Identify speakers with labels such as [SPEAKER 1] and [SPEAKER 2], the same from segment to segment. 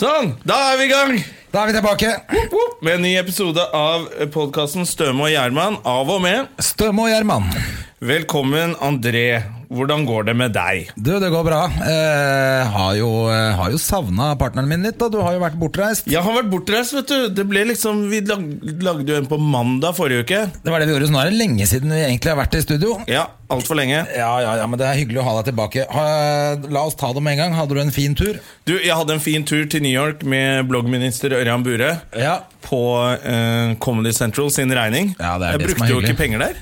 [SPEAKER 1] Sånn, da er vi i gang
[SPEAKER 2] Da er vi tilbake.
[SPEAKER 1] med en ny episode av podkasten Støme og Gjerman av og med.
[SPEAKER 2] Støme og Gjerman.
[SPEAKER 1] Velkommen, André. Hvordan går det med deg?
[SPEAKER 2] Du, det går bra. Eh, har jo, eh, har jo savna partneren min litt, da. Du har jo vært bortreist.
[SPEAKER 1] Jeg har vært bortreist, vet du. Det ble liksom, Vi lag, lagde jo en på mandag forrige uke.
[SPEAKER 2] Det var det vi gjorde, så nå er det lenge siden vi egentlig har vært i studio.
[SPEAKER 1] Ja, altfor lenge.
[SPEAKER 2] Ja, ja, ja, men det er hyggelig å ha deg tilbake. Ha, la oss ta det med en gang. Hadde du en fin tur?
[SPEAKER 1] Du, Jeg hadde en fin tur til New York med bloggminister Ørjan Bure
[SPEAKER 2] Ja.
[SPEAKER 1] på eh, Comedy Central sin regning.
[SPEAKER 2] Ja, det er
[SPEAKER 1] jeg
[SPEAKER 2] det som
[SPEAKER 1] brukte
[SPEAKER 2] er
[SPEAKER 1] jo
[SPEAKER 2] hyggelig.
[SPEAKER 1] ikke penger der.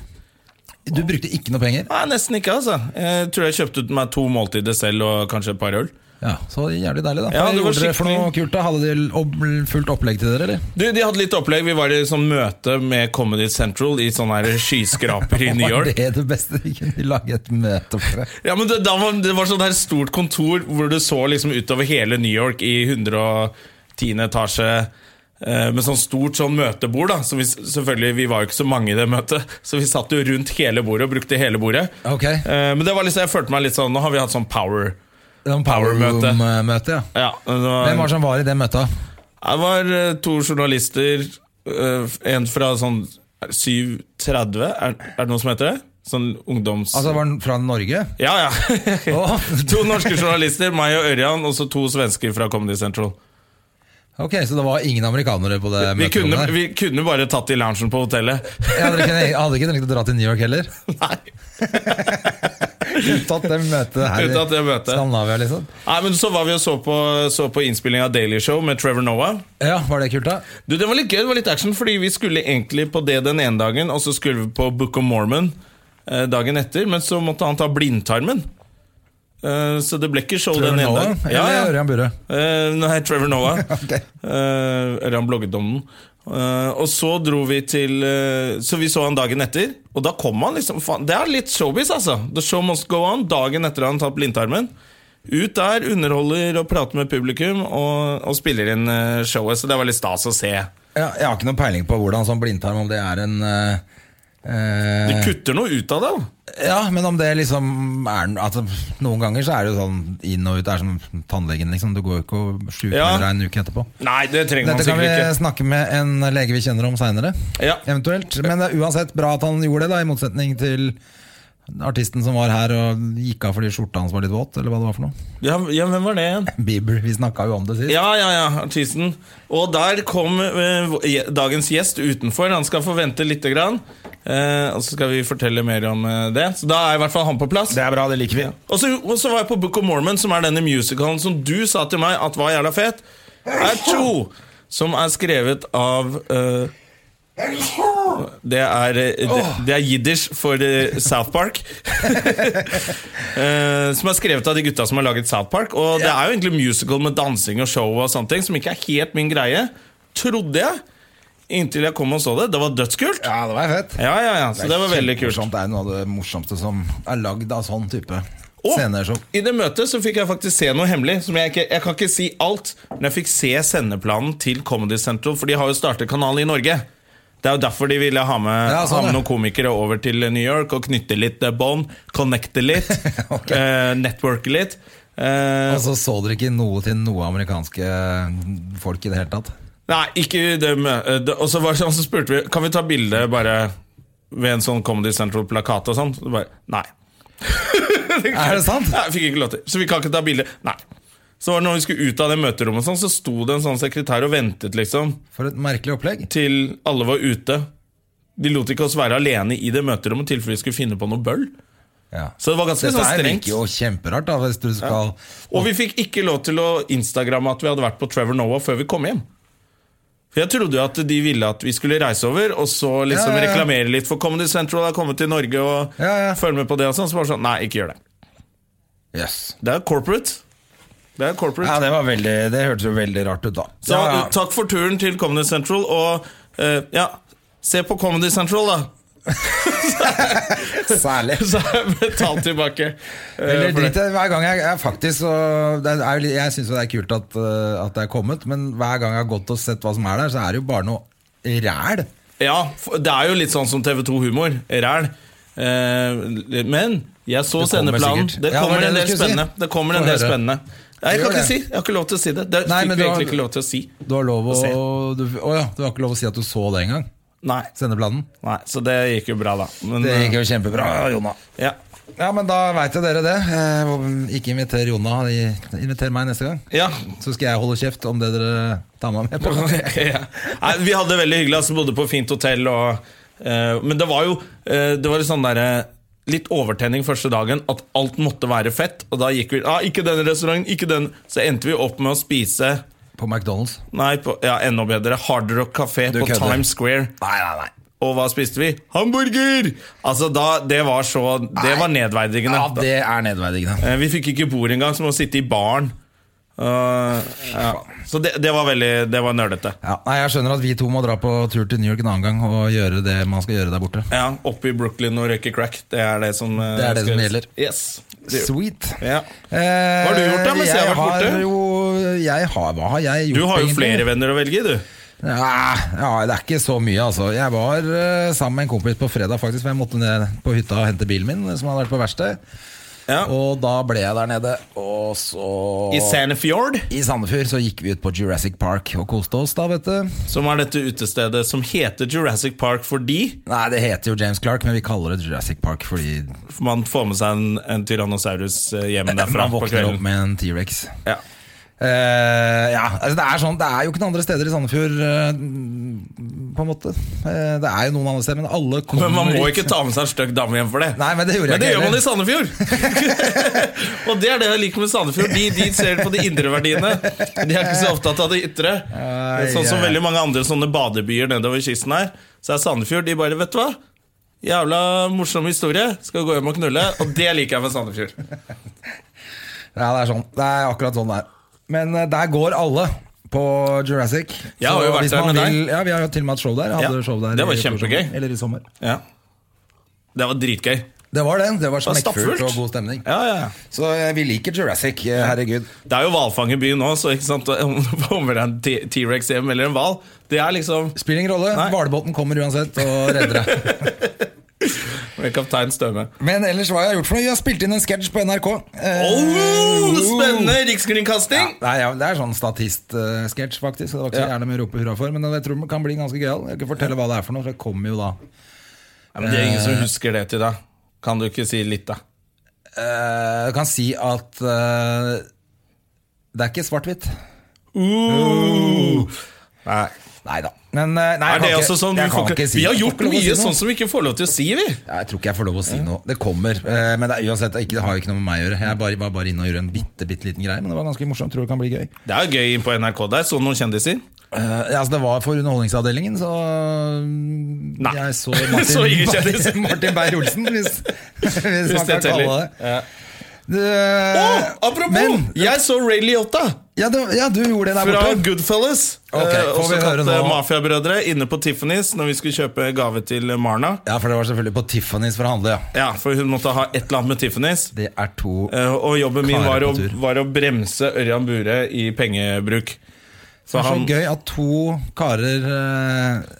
[SPEAKER 2] Du brukte ikke noe penger?
[SPEAKER 1] Nei, Nesten ikke, altså. Jeg tror jeg kjøpte ut meg to måltider selv og kanskje et par øl.
[SPEAKER 2] Ja, Så jævlig deilig, da.
[SPEAKER 1] Ja,
[SPEAKER 2] Hva
[SPEAKER 1] det var
[SPEAKER 2] gjorde dere for
[SPEAKER 1] skikkelig-
[SPEAKER 2] noe kult da? Hadde de ob- fullt opplegg til dere, eller?
[SPEAKER 1] Du, De hadde litt opplegg. Vi var i sånn møte med Comedy Central i sånne her skyskraper i New
[SPEAKER 2] Var
[SPEAKER 1] York.
[SPEAKER 2] det det beste vi kunne lage et møte for?
[SPEAKER 1] Ja, men Det, da var, det var sånn her stort kontor hvor du så liksom utover hele New York i 110. etasje. eh, Med sånn stort sånn møtebord. da Så vi, s- selvfølgelig, vi var jo ikke så mange i det møtet, så vi satt jo rundt hele bordet og brukte hele bordet.
[SPEAKER 2] Ok.
[SPEAKER 1] Eh, Men det var liksom, jeg følte meg litt sånn Nå har vi hatt sånn power.
[SPEAKER 2] Noen
[SPEAKER 1] Power-møte.
[SPEAKER 2] Power-møte, eh, ja.
[SPEAKER 1] Ja, det var-
[SPEAKER 2] Hvem var det som var i det møtet?
[SPEAKER 1] Det var eh, to journalister, eh, en fra sånn 7.30, er, er det noe som heter det? Sånn ungdoms...
[SPEAKER 2] Altså, var den fra Norge?
[SPEAKER 1] ja, ja.
[SPEAKER 2] Å,
[SPEAKER 1] to norske journalister, meg og Ørjan, og så to svensker fra Comedy Central.
[SPEAKER 2] Ok, så det var ingen amerikanere på det
[SPEAKER 1] Vi kunne,
[SPEAKER 2] møterommet der?
[SPEAKER 1] vi kunne bare tatt i loungen på hotellet.
[SPEAKER 2] Ja, dere kunne, hadde ikke trengt å dra til New York heller?
[SPEAKER 1] Nei.
[SPEAKER 2] Unntatt det møtet her
[SPEAKER 1] Unntatt det
[SPEAKER 2] i
[SPEAKER 1] møtet.
[SPEAKER 2] Skandinavia, liksom?
[SPEAKER 1] Nei, men så var vi og så på, så på innspilling av Daily Show med Trevor Noah.
[SPEAKER 2] Ja, var det kult, da?
[SPEAKER 1] Du, Det var litt gøy, det var litt action, fordi vi skulle egentlig på det den ene dagen, og så skulle vi på Book of Mormon eh, dagen etter, men så måtte han ta blindtarmen. Eh, så det ble ikke show
[SPEAKER 2] Trevor
[SPEAKER 1] den ene
[SPEAKER 2] Noah,
[SPEAKER 1] dagen.
[SPEAKER 2] eller
[SPEAKER 1] Ja, ja.
[SPEAKER 2] Ørjan Burre?
[SPEAKER 1] Eh, nei, Trevor Noah.
[SPEAKER 2] Ok.
[SPEAKER 1] Eh, Ørjan blogget om den. Eh, og så dro vi til eh, Så vi så han dagen etter, og da kom han liksom faen, Det er litt showbiz, altså. The show must go on. Dagen etter han tatt blindtarmen. Ut der, underholder og prater med publikum, og, og spiller inn eh, showet. Så det var litt stas å se.
[SPEAKER 2] Ja, jeg har ikke noen peiling på hvordan sånn blindtarm, om det er en eh, eh,
[SPEAKER 1] Du kutter noe ut av det. da.
[SPEAKER 2] Ja, men om det liksom er altså, Noen ganger så er det jo sånn inn og ut, det er som tannlegen, liksom. Du går jo ikke og
[SPEAKER 1] Ja.
[SPEAKER 2] sjukmelder deg en uke etterpå.
[SPEAKER 1] Nei, det trenger
[SPEAKER 2] Dette kan
[SPEAKER 1] man
[SPEAKER 2] vi
[SPEAKER 1] sikkert
[SPEAKER 2] snakke med en lege vi kjenner om seinere.
[SPEAKER 1] Ja.
[SPEAKER 2] Eventuelt. Men det er uansett bra at han gjorde det, da, i motsetning til artisten som var her og gikk av fordi skjorta hans var litt våt, eller hva det var for noe.
[SPEAKER 1] ikke. Ja, ja, hvem var det igjen?
[SPEAKER 2] Bieber. Vi snakka jo om det sist.
[SPEAKER 1] Ja, ja, ja, artisten. Og der kom eh, dagens gjest utenfor. Han skal få vente lite grann. Eh, og så skal vi fortelle mer om eh, det. Så da er i hvert fall han på plass.
[SPEAKER 2] er bra, det liker vi.
[SPEAKER 1] Og så, og så var jeg på Book of Mormon, som er denne musicalen som du sa til meg at var jævla fet. Er to! Som er skrevet av eh, det, er, eh, det, det er jiddisch for eh, South Park. Eh, som er skrevet av de gutta som har laget South Park. Og det er jo egentlig musical med dansing og show og sånne ting, som ikke er helt min greie. Trodde jeg. Inntil jeg kom og så det. Det var dødskult.
[SPEAKER 2] Ja, det var fett.
[SPEAKER 1] Ja, ja, ja. Så det var veldig kult.
[SPEAKER 2] Kjempemorsomt. Det er noe av det morsomste som er lagd av sånn type
[SPEAKER 1] Og
[SPEAKER 2] sceneshow.
[SPEAKER 1] I det møtet så fikk jeg faktisk se noe hemmelig. Som jeg, ikke, jeg kan ikke si alt, men jeg fikk se sendeplanen til Comedy Central, for de har jo startet kanal i Norge. Det er jo derfor de ville ha med,
[SPEAKER 2] Ja, sånn
[SPEAKER 1] ha med
[SPEAKER 2] det.
[SPEAKER 1] noen komikere over til New York og knytte litt eh, bånd. Connecte litt.
[SPEAKER 2] Ok.
[SPEAKER 1] eh, networke litt. Eh,
[SPEAKER 2] Og så så dere ikke noe til noe amerikanske folk i det hele tatt.
[SPEAKER 1] nei, ikke det mø- eh, det- Og så var det sånn, så spurte vi Kan vi ta bilde bare ved en sånn Comedy Central-plakat og sånn. Så bare, Nei.
[SPEAKER 2] Er det sant?
[SPEAKER 1] Nei, jeg fikk ikke lov til. Så vi kan ikke ta bilde. Nei. Så var det når vi skulle ut av det møterommet, og sånn, så sto det en sånn sekretær og ventet, liksom,
[SPEAKER 2] For et merkelig opplegg.
[SPEAKER 1] til alle var ute. De lot ikke oss være alene i det møterommet i tilfelle vi skulle finne på noe bøll.
[SPEAKER 2] Ja.
[SPEAKER 1] Så det var ganske
[SPEAKER 2] Dette
[SPEAKER 1] sånn
[SPEAKER 2] her
[SPEAKER 1] strengt.
[SPEAKER 2] virker jo kjemperart, da, hvis du skal
[SPEAKER 1] Og vi fikk ikke lov til å instagramme at vi hadde vært på Trevor Noah før vi kom hjem. For Jeg trodde jo at de ville at vi skulle reise over og så liksom
[SPEAKER 2] Ja, ja, ja.
[SPEAKER 1] reklamere litt for Comedy Central har kommet til Norge og
[SPEAKER 2] Ja, ja.
[SPEAKER 1] følge med på det og sånn. Så bare sånn, nei, ikke gjør det.
[SPEAKER 2] Yes.
[SPEAKER 1] Det er corporate. Det er corporate.
[SPEAKER 2] Ja, det, var veldig, det hørtes jo veldig rart ut, da.
[SPEAKER 1] Så
[SPEAKER 2] ja, ja.
[SPEAKER 1] eh, takk for turen til Comedy Central, og eh, ja, se på Comedy Central, da.
[SPEAKER 2] Særlig.
[SPEAKER 1] Så er jeg betalt tilbake. eh,
[SPEAKER 2] Eller
[SPEAKER 1] for det.
[SPEAKER 2] drit i det. Hver gang jeg, jeg faktisk så, det er, jo litt- Jeg syns jo det er kult at, eh, at det er kommet, men hver gang jeg har gått og sett hva som er der, så er det jo bare noe ræl.
[SPEAKER 1] Ja, for det er jo litt sånn som TV2 Humor. Ræl. Eh, men jeg så
[SPEAKER 2] Det kommer
[SPEAKER 1] sendeplanen.
[SPEAKER 2] sikkert.
[SPEAKER 1] Det
[SPEAKER 2] Ja, det var
[SPEAKER 1] kommer
[SPEAKER 2] det
[SPEAKER 1] en
[SPEAKER 2] du
[SPEAKER 1] del
[SPEAKER 2] skulle si.
[SPEAKER 1] spennende. Det kommer en
[SPEAKER 2] Få
[SPEAKER 1] del
[SPEAKER 2] høre.
[SPEAKER 1] spennende Nei, jeg kan
[SPEAKER 2] Gjør
[SPEAKER 1] ikke
[SPEAKER 2] det.
[SPEAKER 1] si. Jeg har ikke lov til å si det. Det
[SPEAKER 2] Nei,
[SPEAKER 1] fikk
[SPEAKER 2] men
[SPEAKER 1] vi
[SPEAKER 2] du har-
[SPEAKER 1] egentlig ikke lov til å si.
[SPEAKER 2] Du har lov å,
[SPEAKER 1] Få se.
[SPEAKER 2] du, å ja, du har ikke lov å si at du så det engang.
[SPEAKER 1] Nei.
[SPEAKER 2] Sendeplanen.
[SPEAKER 1] Nei, så det gikk jo bra, da. Men,
[SPEAKER 2] Det gikk jo kjempebra, Jonna.
[SPEAKER 1] eh, ja.
[SPEAKER 2] Ja, men da veit jo dere det. Eh, og Ikke inviter Jonna. Inviter meg neste gang.
[SPEAKER 1] Ja.
[SPEAKER 2] Så skal jeg holde kjeft om det dere tar meg med på.
[SPEAKER 1] ja. Nei, vi hadde det veldig hyggelig, altså bodde på fint hotell og eh, Men det var jo eh, Det var litt sånn derre Litt overtenning første dagen, at alt måtte være fett. Og da gikk vi ah, Ikke den restauranten, ikke den. Så endte vi opp med å spise
[SPEAKER 2] På McDonald's.
[SPEAKER 1] Nei, på, ja, enda bedre. Hard Rock Café
[SPEAKER 2] Du
[SPEAKER 1] på
[SPEAKER 2] kødder.
[SPEAKER 1] Times Square.
[SPEAKER 2] Nei, nei, nei.
[SPEAKER 1] Og hva spiste vi? Hamburger! Altså da, Det var så Det var nedverdigende.
[SPEAKER 2] Ja, det er nedverdigende.
[SPEAKER 1] Eh, Vi fikk ikke bord engang, så vi må sitte i baren. Eh, ja. Så det, det var veldig Det var nerdete.
[SPEAKER 2] Ja, nei, jeg skjønner at vi to må dra på tur til New York en annen gang og gjøre det man skal gjøre der borte.
[SPEAKER 1] Ja, oppe i Brooklyn og røyke crack. Det er det som, eh,
[SPEAKER 2] Det er det
[SPEAKER 1] skal
[SPEAKER 2] som
[SPEAKER 1] gjøres.
[SPEAKER 2] gjelder.
[SPEAKER 1] Yes. Det-
[SPEAKER 2] Sweet.
[SPEAKER 1] Ja.
[SPEAKER 2] Hva
[SPEAKER 1] har du gjort da, mens jeg har vært borte?
[SPEAKER 2] Jo, jeg har, hva har jeg gjort
[SPEAKER 1] Du har jo
[SPEAKER 2] egentlig?
[SPEAKER 1] flere venner å velge i, du.
[SPEAKER 2] Ja, ja, det er ikke så mye, altså. Jeg var eh, sammen med en kompis på fredag, faktisk. For jeg måtte ned på hytta og hente bilen min, som hadde vært på verksted.
[SPEAKER 1] Ja.
[SPEAKER 2] Og da ble jeg der nede, og så
[SPEAKER 1] I Sandefjord,
[SPEAKER 2] I Sandefjord så gikk vi ut på Jurassic Park og koste oss, da, vet du.
[SPEAKER 1] som er dette utestedet som heter Jurassic Park fordi
[SPEAKER 2] Nei, det heter jo James Clark, men vi kaller det Jurassic Park fordi
[SPEAKER 1] man får med seg en, en tyrannosaurus eh, hjem derfra
[SPEAKER 2] man
[SPEAKER 1] på
[SPEAKER 2] våkner opp
[SPEAKER 1] kvelden.
[SPEAKER 2] med en T-rex.
[SPEAKER 1] Ja.
[SPEAKER 2] Eh, ja, altså det er sånn Det er jo ikke noen andre steder i Sandefjord, eh, på en måte. Eh, det er jo noen andre steder, men alle kommer
[SPEAKER 1] Men man må
[SPEAKER 2] dit.
[SPEAKER 1] ikke ta med seg en stygg dame hjem for det.
[SPEAKER 2] Nei, men det gjorde
[SPEAKER 1] Men det
[SPEAKER 2] jeg
[SPEAKER 1] gjør
[SPEAKER 2] ikke
[SPEAKER 1] man liksom. i
[SPEAKER 2] heller.
[SPEAKER 1] Sandefjord! og det er det jeg liker med Sandefjord. De, de ser på de indre verdiene. De er ikke så opptatt av det ytre.
[SPEAKER 2] Ai,
[SPEAKER 1] Sånn som
[SPEAKER 2] ai.
[SPEAKER 1] veldig mange andre sånne badebyer nedover kysten her. Så er Sandefjord de bare Vet du hva? Jævla morsom historie. Skal gå hjem og knulle. Og det liker jeg med Sandefjord.
[SPEAKER 2] Ja, det er sånn. Det er akkurat sånn det er. Men eh, der går alle på Jurassic.
[SPEAKER 1] Jeg har
[SPEAKER 2] Så
[SPEAKER 1] jo vært
[SPEAKER 2] hvis
[SPEAKER 1] der
[SPEAKER 2] man
[SPEAKER 1] med
[SPEAKER 2] vil- Ja, Vi har jo til og med hatt show der. Jeg Hadde
[SPEAKER 1] Ja,
[SPEAKER 2] show der
[SPEAKER 1] det var
[SPEAKER 2] i fjor
[SPEAKER 1] kjempegøy.
[SPEAKER 2] sommer, Eller i sommer.
[SPEAKER 1] Ja. Det var dritgøy.
[SPEAKER 2] Det var det. Det
[SPEAKER 1] var
[SPEAKER 2] var smekkfullt
[SPEAKER 1] stappfullt.
[SPEAKER 2] og god stemning.
[SPEAKER 1] Ja, ja, ja.
[SPEAKER 2] Så eh, vi liker Jurassic. eh, Herregud.
[SPEAKER 1] Det er jo hvalfangerbyen nå, så ikke sant? om det kommer det en T- T-rex hjem eller en hval Det er liksom
[SPEAKER 2] Spiller ingen rolle.
[SPEAKER 1] Nei.
[SPEAKER 2] Hvalbåten kommer uansett og redder deg.
[SPEAKER 1] kaptein Støme.
[SPEAKER 2] Men ellers, hva jeg har gjort for noe? Jeg har spilt inn en sketsj på NRK. Eh,
[SPEAKER 1] Oh, spennende!
[SPEAKER 2] Ja,
[SPEAKER 1] Rikskringkasting!
[SPEAKER 2] nei, ja, det er sånn statistsketsj, faktisk. så Det var ikke så
[SPEAKER 1] Ja.
[SPEAKER 2] gjerne mye å rope hurra for, men jeg tror den kan bli ganske gøyal. Jeg kan ikke fortelle hva det er for noe, for det kommer jo da.
[SPEAKER 1] Ja, men det er ingen som husker det til deg. Kan du ikke si litt, da?
[SPEAKER 2] Eh, Jeg kan si at eh, det er ikke svart-hvitt.
[SPEAKER 1] Nei.
[SPEAKER 2] Nei da. Men eh, nei,
[SPEAKER 1] Oh. Er det
[SPEAKER 2] jeg kan
[SPEAKER 1] også
[SPEAKER 2] ikke,
[SPEAKER 1] sånn du
[SPEAKER 2] jeg kan
[SPEAKER 1] får ikke,
[SPEAKER 2] ikke si-
[SPEAKER 1] Vi har
[SPEAKER 2] jeg får
[SPEAKER 1] gjort
[SPEAKER 2] ikke lov å
[SPEAKER 1] mye
[SPEAKER 2] si noe.
[SPEAKER 1] sånn som vi ikke får lov til å si, vi.
[SPEAKER 2] Ja, Jeg tror ikke jeg får lov å si noe. Det kommer. eh, Men det, er uansett, det er ikke- det har jo ikke noe med meg å gjøre. Jeg bare, var bare inne og gjorde en bitte, bitte liten greie, men det var ganske morsomt. Tror det kan bli gøy.
[SPEAKER 1] Det er jo gøy inn på NRK der. Så noen kjendiser?
[SPEAKER 2] Eh, ja, altså det var for underholdningsavdelingen, så mm,
[SPEAKER 1] Nei.
[SPEAKER 2] Jeg så Martin,
[SPEAKER 1] Så ingen kjendis.
[SPEAKER 2] Martin, Martin Beyer-Olsen, hvis, hvis
[SPEAKER 1] Hvis
[SPEAKER 2] man
[SPEAKER 1] det
[SPEAKER 2] kan kalle
[SPEAKER 1] teller.
[SPEAKER 2] det det.
[SPEAKER 1] Ja.
[SPEAKER 2] Du,
[SPEAKER 1] Å, apropos!
[SPEAKER 2] men,
[SPEAKER 1] jeg så Ray Liotta
[SPEAKER 2] ja, du, ja, du gjorde det der
[SPEAKER 1] fra
[SPEAKER 2] borte.
[SPEAKER 1] Goodfellas.
[SPEAKER 2] Ok,
[SPEAKER 1] eh,
[SPEAKER 2] får vi
[SPEAKER 1] også
[SPEAKER 2] høre
[SPEAKER 1] kalt
[SPEAKER 2] nå?
[SPEAKER 1] eh, Mafiabrødre inne på Tiffany's når vi skulle kjøpe gave til Marna.
[SPEAKER 2] Ja, for det var selvfølgelig på Tiffany's for å handle, ja.
[SPEAKER 1] Ja, For hun måtte ha et eller annet med Tiffany's.
[SPEAKER 2] Det er to
[SPEAKER 1] Eh, Og jobben min
[SPEAKER 2] Karer
[SPEAKER 1] var å,
[SPEAKER 2] på tur.
[SPEAKER 1] var å bremse Ørjan Bure i pengebruk.
[SPEAKER 2] Det
[SPEAKER 1] Så
[SPEAKER 2] er så gøy at to karer eh,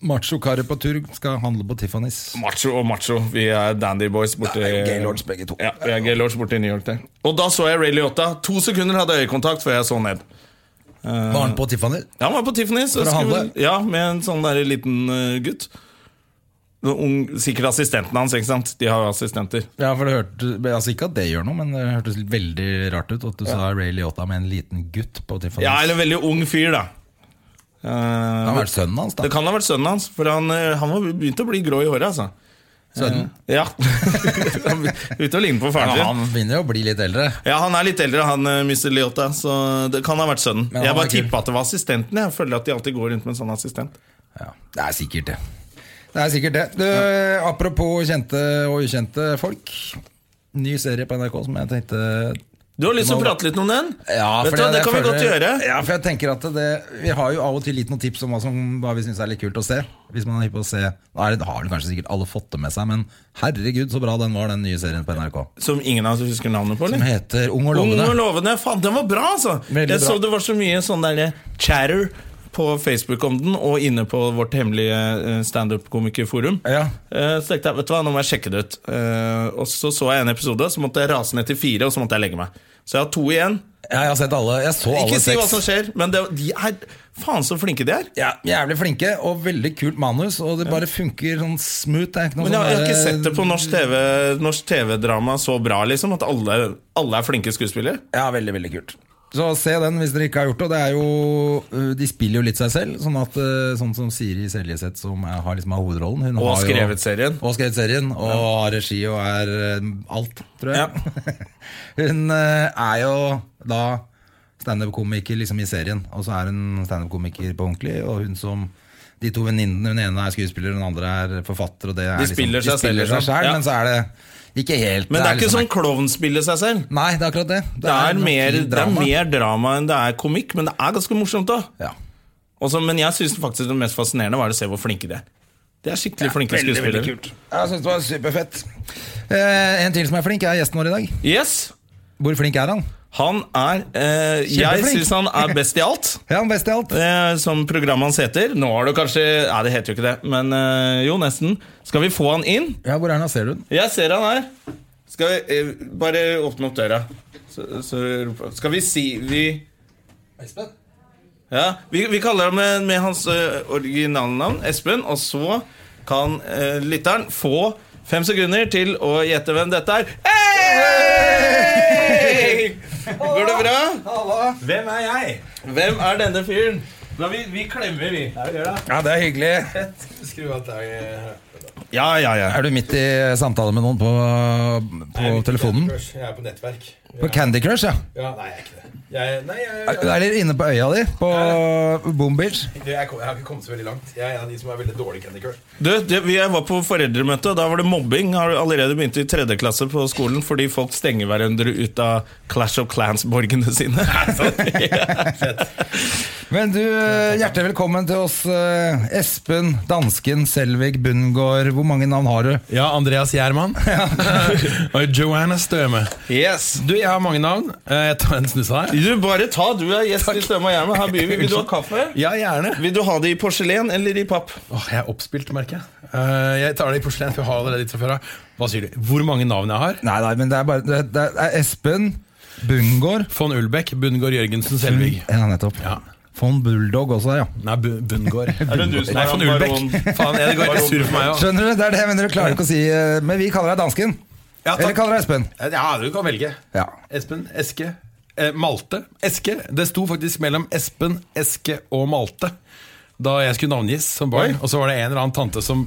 [SPEAKER 2] Macho-karer på tur skal handle på Tiffany's.
[SPEAKER 1] Macho og macho. Vi er dandy boys borti
[SPEAKER 2] Det er gaylords begge to.
[SPEAKER 1] Ja, vi er gaylords borti New York der. Og da så jeg Ray Liotta. To sekunder hadde jeg øyekontakt før jeg så ned. Eh.
[SPEAKER 2] Var han på Tiffany?
[SPEAKER 1] Ja, Han var på Tiffany. Så
[SPEAKER 2] For å
[SPEAKER 1] skulle-
[SPEAKER 2] handle?
[SPEAKER 1] ja, med en sånn der liten eh, gutt. Noen Ung, sikkert assistenten hans, ikke sant? De har jo assistenter.
[SPEAKER 2] Ja, for det hørte, altså Ikke at det gjør noe, men det hørtes veldig rart ut at du sa Ray Liotta med en liten gutt på Tiffany's.
[SPEAKER 1] Ja, eller en veldig ung fyr, da. Eh,
[SPEAKER 2] Det har vært sønnen hans, da.
[SPEAKER 1] det kan ha vært sønnen hans, for han, eh, han var begynt å bli grå i håret, altså.
[SPEAKER 2] Sønnen.
[SPEAKER 1] Ja. han begynte å ligne på faren
[SPEAKER 2] Men
[SPEAKER 1] sin.
[SPEAKER 2] han begynner jo å bli litt eldre.
[SPEAKER 1] Ja, han er litt eldre, han eh, Mr. Liotta, så det kan ha vært sønnen.
[SPEAKER 2] Men han
[SPEAKER 1] Jeg
[SPEAKER 2] var
[SPEAKER 1] bare
[SPEAKER 2] kul.
[SPEAKER 1] tippa at det var assistenten. Jeg føler at de alltid går rundt med en sånn assistent.
[SPEAKER 2] Ja, Det er sikkert det. Det er sikkert det. Du, Apropos kjente og ukjente folk. Ny serie på NRK som jeg tenkte
[SPEAKER 1] Du har lyst til å
[SPEAKER 2] Det må-
[SPEAKER 1] prate litt om den?
[SPEAKER 2] Ja,
[SPEAKER 1] Vet
[SPEAKER 2] for
[SPEAKER 1] du, hva,
[SPEAKER 2] jeg-
[SPEAKER 1] Det
[SPEAKER 2] jeg
[SPEAKER 1] kan vi
[SPEAKER 2] føler-
[SPEAKER 1] godt gjøre.
[SPEAKER 2] Ja, for jeg tenker at det, Vi har jo av og til litt noen tips om hva, som, hva vi syns er litt kult å se. Hvis man er hypp på å se Da er det- har vel kanskje sikkert alle fått det med seg, men herregud så bra den var, den nye serien på NRK.
[SPEAKER 1] Som ingen av oss husker navnet på?
[SPEAKER 2] Som
[SPEAKER 1] eller?
[SPEAKER 2] heter Ung og
[SPEAKER 1] Ung og
[SPEAKER 2] lovende.
[SPEAKER 1] lovende. Faen, den var bra, altså!
[SPEAKER 2] Veldig
[SPEAKER 1] jeg
[SPEAKER 2] bra.
[SPEAKER 1] så det var så mye sånn der chatter på Facebook om den, og inne på vårt hemmelige eh, standup-komikerforum.
[SPEAKER 2] Ja.
[SPEAKER 1] Eh, Så tenkte jeg, vet du hva, nå må jeg sjekke det ut. Eh, Og så så jeg en episode, så måtte jeg rase ned til fire, og så måtte jeg legge meg. Så jeg har to igjen.
[SPEAKER 2] Ja, jeg har sett alle. Jeg så alle
[SPEAKER 1] Ikke si hva
[SPEAKER 2] seks.
[SPEAKER 1] som skjer, men det, de er Faen, så flinke de er.
[SPEAKER 2] Ja, jævlig flinke og veldig kult manus, og det bare funker sånn smooth. Det er ikke noe
[SPEAKER 1] Men jeg, jeg har ikke
[SPEAKER 2] sånn
[SPEAKER 1] sett det på norsk TV Norsk TV-drama så bra, liksom. At alle, alle er flinke skuespillere.
[SPEAKER 2] Ja, veldig, veldig kult. Så se den hvis dere ikke har gjort det. og det er jo, øh, de spiller jo litt seg selv. Sånn at øh, sånn som Siri Seljeseth, som er, har liksom er hovedrollen hun
[SPEAKER 1] Og
[SPEAKER 2] har jo-
[SPEAKER 1] skrevet serien.
[SPEAKER 2] Og skrevet serien, og har regi og er øh, alt, tror
[SPEAKER 1] Ja.
[SPEAKER 2] jeg. hun øh, er jo da standup-komiker liksom i serien, og så er hun standup-komiker på ordentlig. Og hun som de to venninnene, hun ene er skuespiller, hun andre er forfatter. Og det er
[SPEAKER 1] De spiller
[SPEAKER 2] liksom,
[SPEAKER 1] seg selv,
[SPEAKER 2] selv,
[SPEAKER 1] liksom. Ja.
[SPEAKER 2] men så er det ikke helt
[SPEAKER 1] Men det er ikke
[SPEAKER 2] liksom-
[SPEAKER 1] sånn klovnspille seg selv.
[SPEAKER 2] Nei, det er akkurat det.
[SPEAKER 1] Det er,
[SPEAKER 2] nok
[SPEAKER 1] mer,
[SPEAKER 2] i
[SPEAKER 1] det er mer drama enn det er komikk, men det er ganske morsomt. da
[SPEAKER 2] Ja.
[SPEAKER 1] Også, Men jeg syns faktisk det mest fascinerende var å se hvor flinke de er. De er skikkelig flinke skuespillere.
[SPEAKER 2] Jeg syns det var superfett. Eh, en til som er flink, er gjesten vår i dag.
[SPEAKER 1] Yes,
[SPEAKER 2] Hvor flink er han?
[SPEAKER 1] han er eh, Jeg
[SPEAKER 2] Kjempeflink.
[SPEAKER 1] syns han er best i alt.
[SPEAKER 2] Ja, han best i alt.
[SPEAKER 1] Eh, som programmet hans heter. Nå har du kanskje Nei, det heter jo ikke det, men eh, jo, nesten. Skal vi få han inn?
[SPEAKER 2] Ja, Hvor er han? da? Ser du den?
[SPEAKER 1] Jeg ser han her. Skal vi eh, Bare åpne opp døra. Så, så roper- Skal vi si Vi
[SPEAKER 2] Espen?
[SPEAKER 1] Ja, Vi, vi kaller ham med, med hans eh, originalnavn, Espen, og så kan eh, lytteren få fem sekunder til å gjette hvem dette er. Hey! Går det bra?
[SPEAKER 3] Hvem er jeg?
[SPEAKER 1] Hvem er denne fyren? La vi, vi klemmer, vi.
[SPEAKER 3] Ja, vi gjør det.
[SPEAKER 2] Ja, det er hyggelig.
[SPEAKER 3] Skru av deg.
[SPEAKER 1] Ja, ja, ja.
[SPEAKER 2] Er du midt i samtale med noen på, på telefonen?
[SPEAKER 3] Jeg er på nettverk.
[SPEAKER 2] På Candy Crush, ja.
[SPEAKER 3] Ja, nei, jeg er ikke det. Jeg, nei, jeg, jeg,
[SPEAKER 2] Eller inne på øya di, på Boom Beach.
[SPEAKER 3] jeg, kom- jeg har ikke kommet så veldig langt. Jeg er en av de som er veldig dårlig i Candy Crush.
[SPEAKER 1] Du, det, vi- jeg var på foreldremøte, og da var det mobbing. Har allerede begynt i tredje klasse på skolen fordi folk stenger hverandre ut av Clash of Clans-borgene sine.
[SPEAKER 2] Men du, eh, hjertelig velkommen til oss, eh, Espen, dansken, Selvig, Bundgaard. Hvor mange navn har du?
[SPEAKER 4] Ja, Andreas Gjerman. og Joanna Støme.
[SPEAKER 1] yes.
[SPEAKER 4] Du, jeg har mange navn. Eh, Jeg tar en snus her.
[SPEAKER 1] Du, bare ta. Du er gjest i Støm og Hjermen. Her byr vi. Vil du ha kaffe?
[SPEAKER 4] Ja, gjerne.
[SPEAKER 1] Vil du ha det i porselen eller i papp?
[SPEAKER 4] Åh, jeg er oppspilt, merker jeg. Eh, jeg tar det i porselen. for jeg har allerede litt fra før av. Hva sier du? Hvor mange navn jeg har?
[SPEAKER 2] Nei, nei, men det er bare Det, det er Espen Bungård.
[SPEAKER 4] Von Ulbæk, Bundgaard Jørgensen Selvig.
[SPEAKER 2] Ja, nettopp.
[SPEAKER 4] Ja.
[SPEAKER 2] Von Bulldog også, ja.
[SPEAKER 4] Nei, Bu- Bundgaard.
[SPEAKER 1] Er det du som
[SPEAKER 4] Nei,
[SPEAKER 1] er
[SPEAKER 4] von
[SPEAKER 1] han
[SPEAKER 4] Ulbæk. Faen, jeg- det går helt sur for meg også.
[SPEAKER 2] Skjønner du? Det er det, men dere klarer ikke å si eh, Men vi kaller deg dansken. Eller
[SPEAKER 4] Ja, Ah, takk.
[SPEAKER 2] kaller deg Espen.
[SPEAKER 4] ja, du kan velge.
[SPEAKER 2] Ja.
[SPEAKER 4] Espen, Eske, eh, Malte. Eske. Det sto faktisk mellom Espen, Eske og Malte. Da jeg skulle navngis som barn. Og så var det en eller annen tante som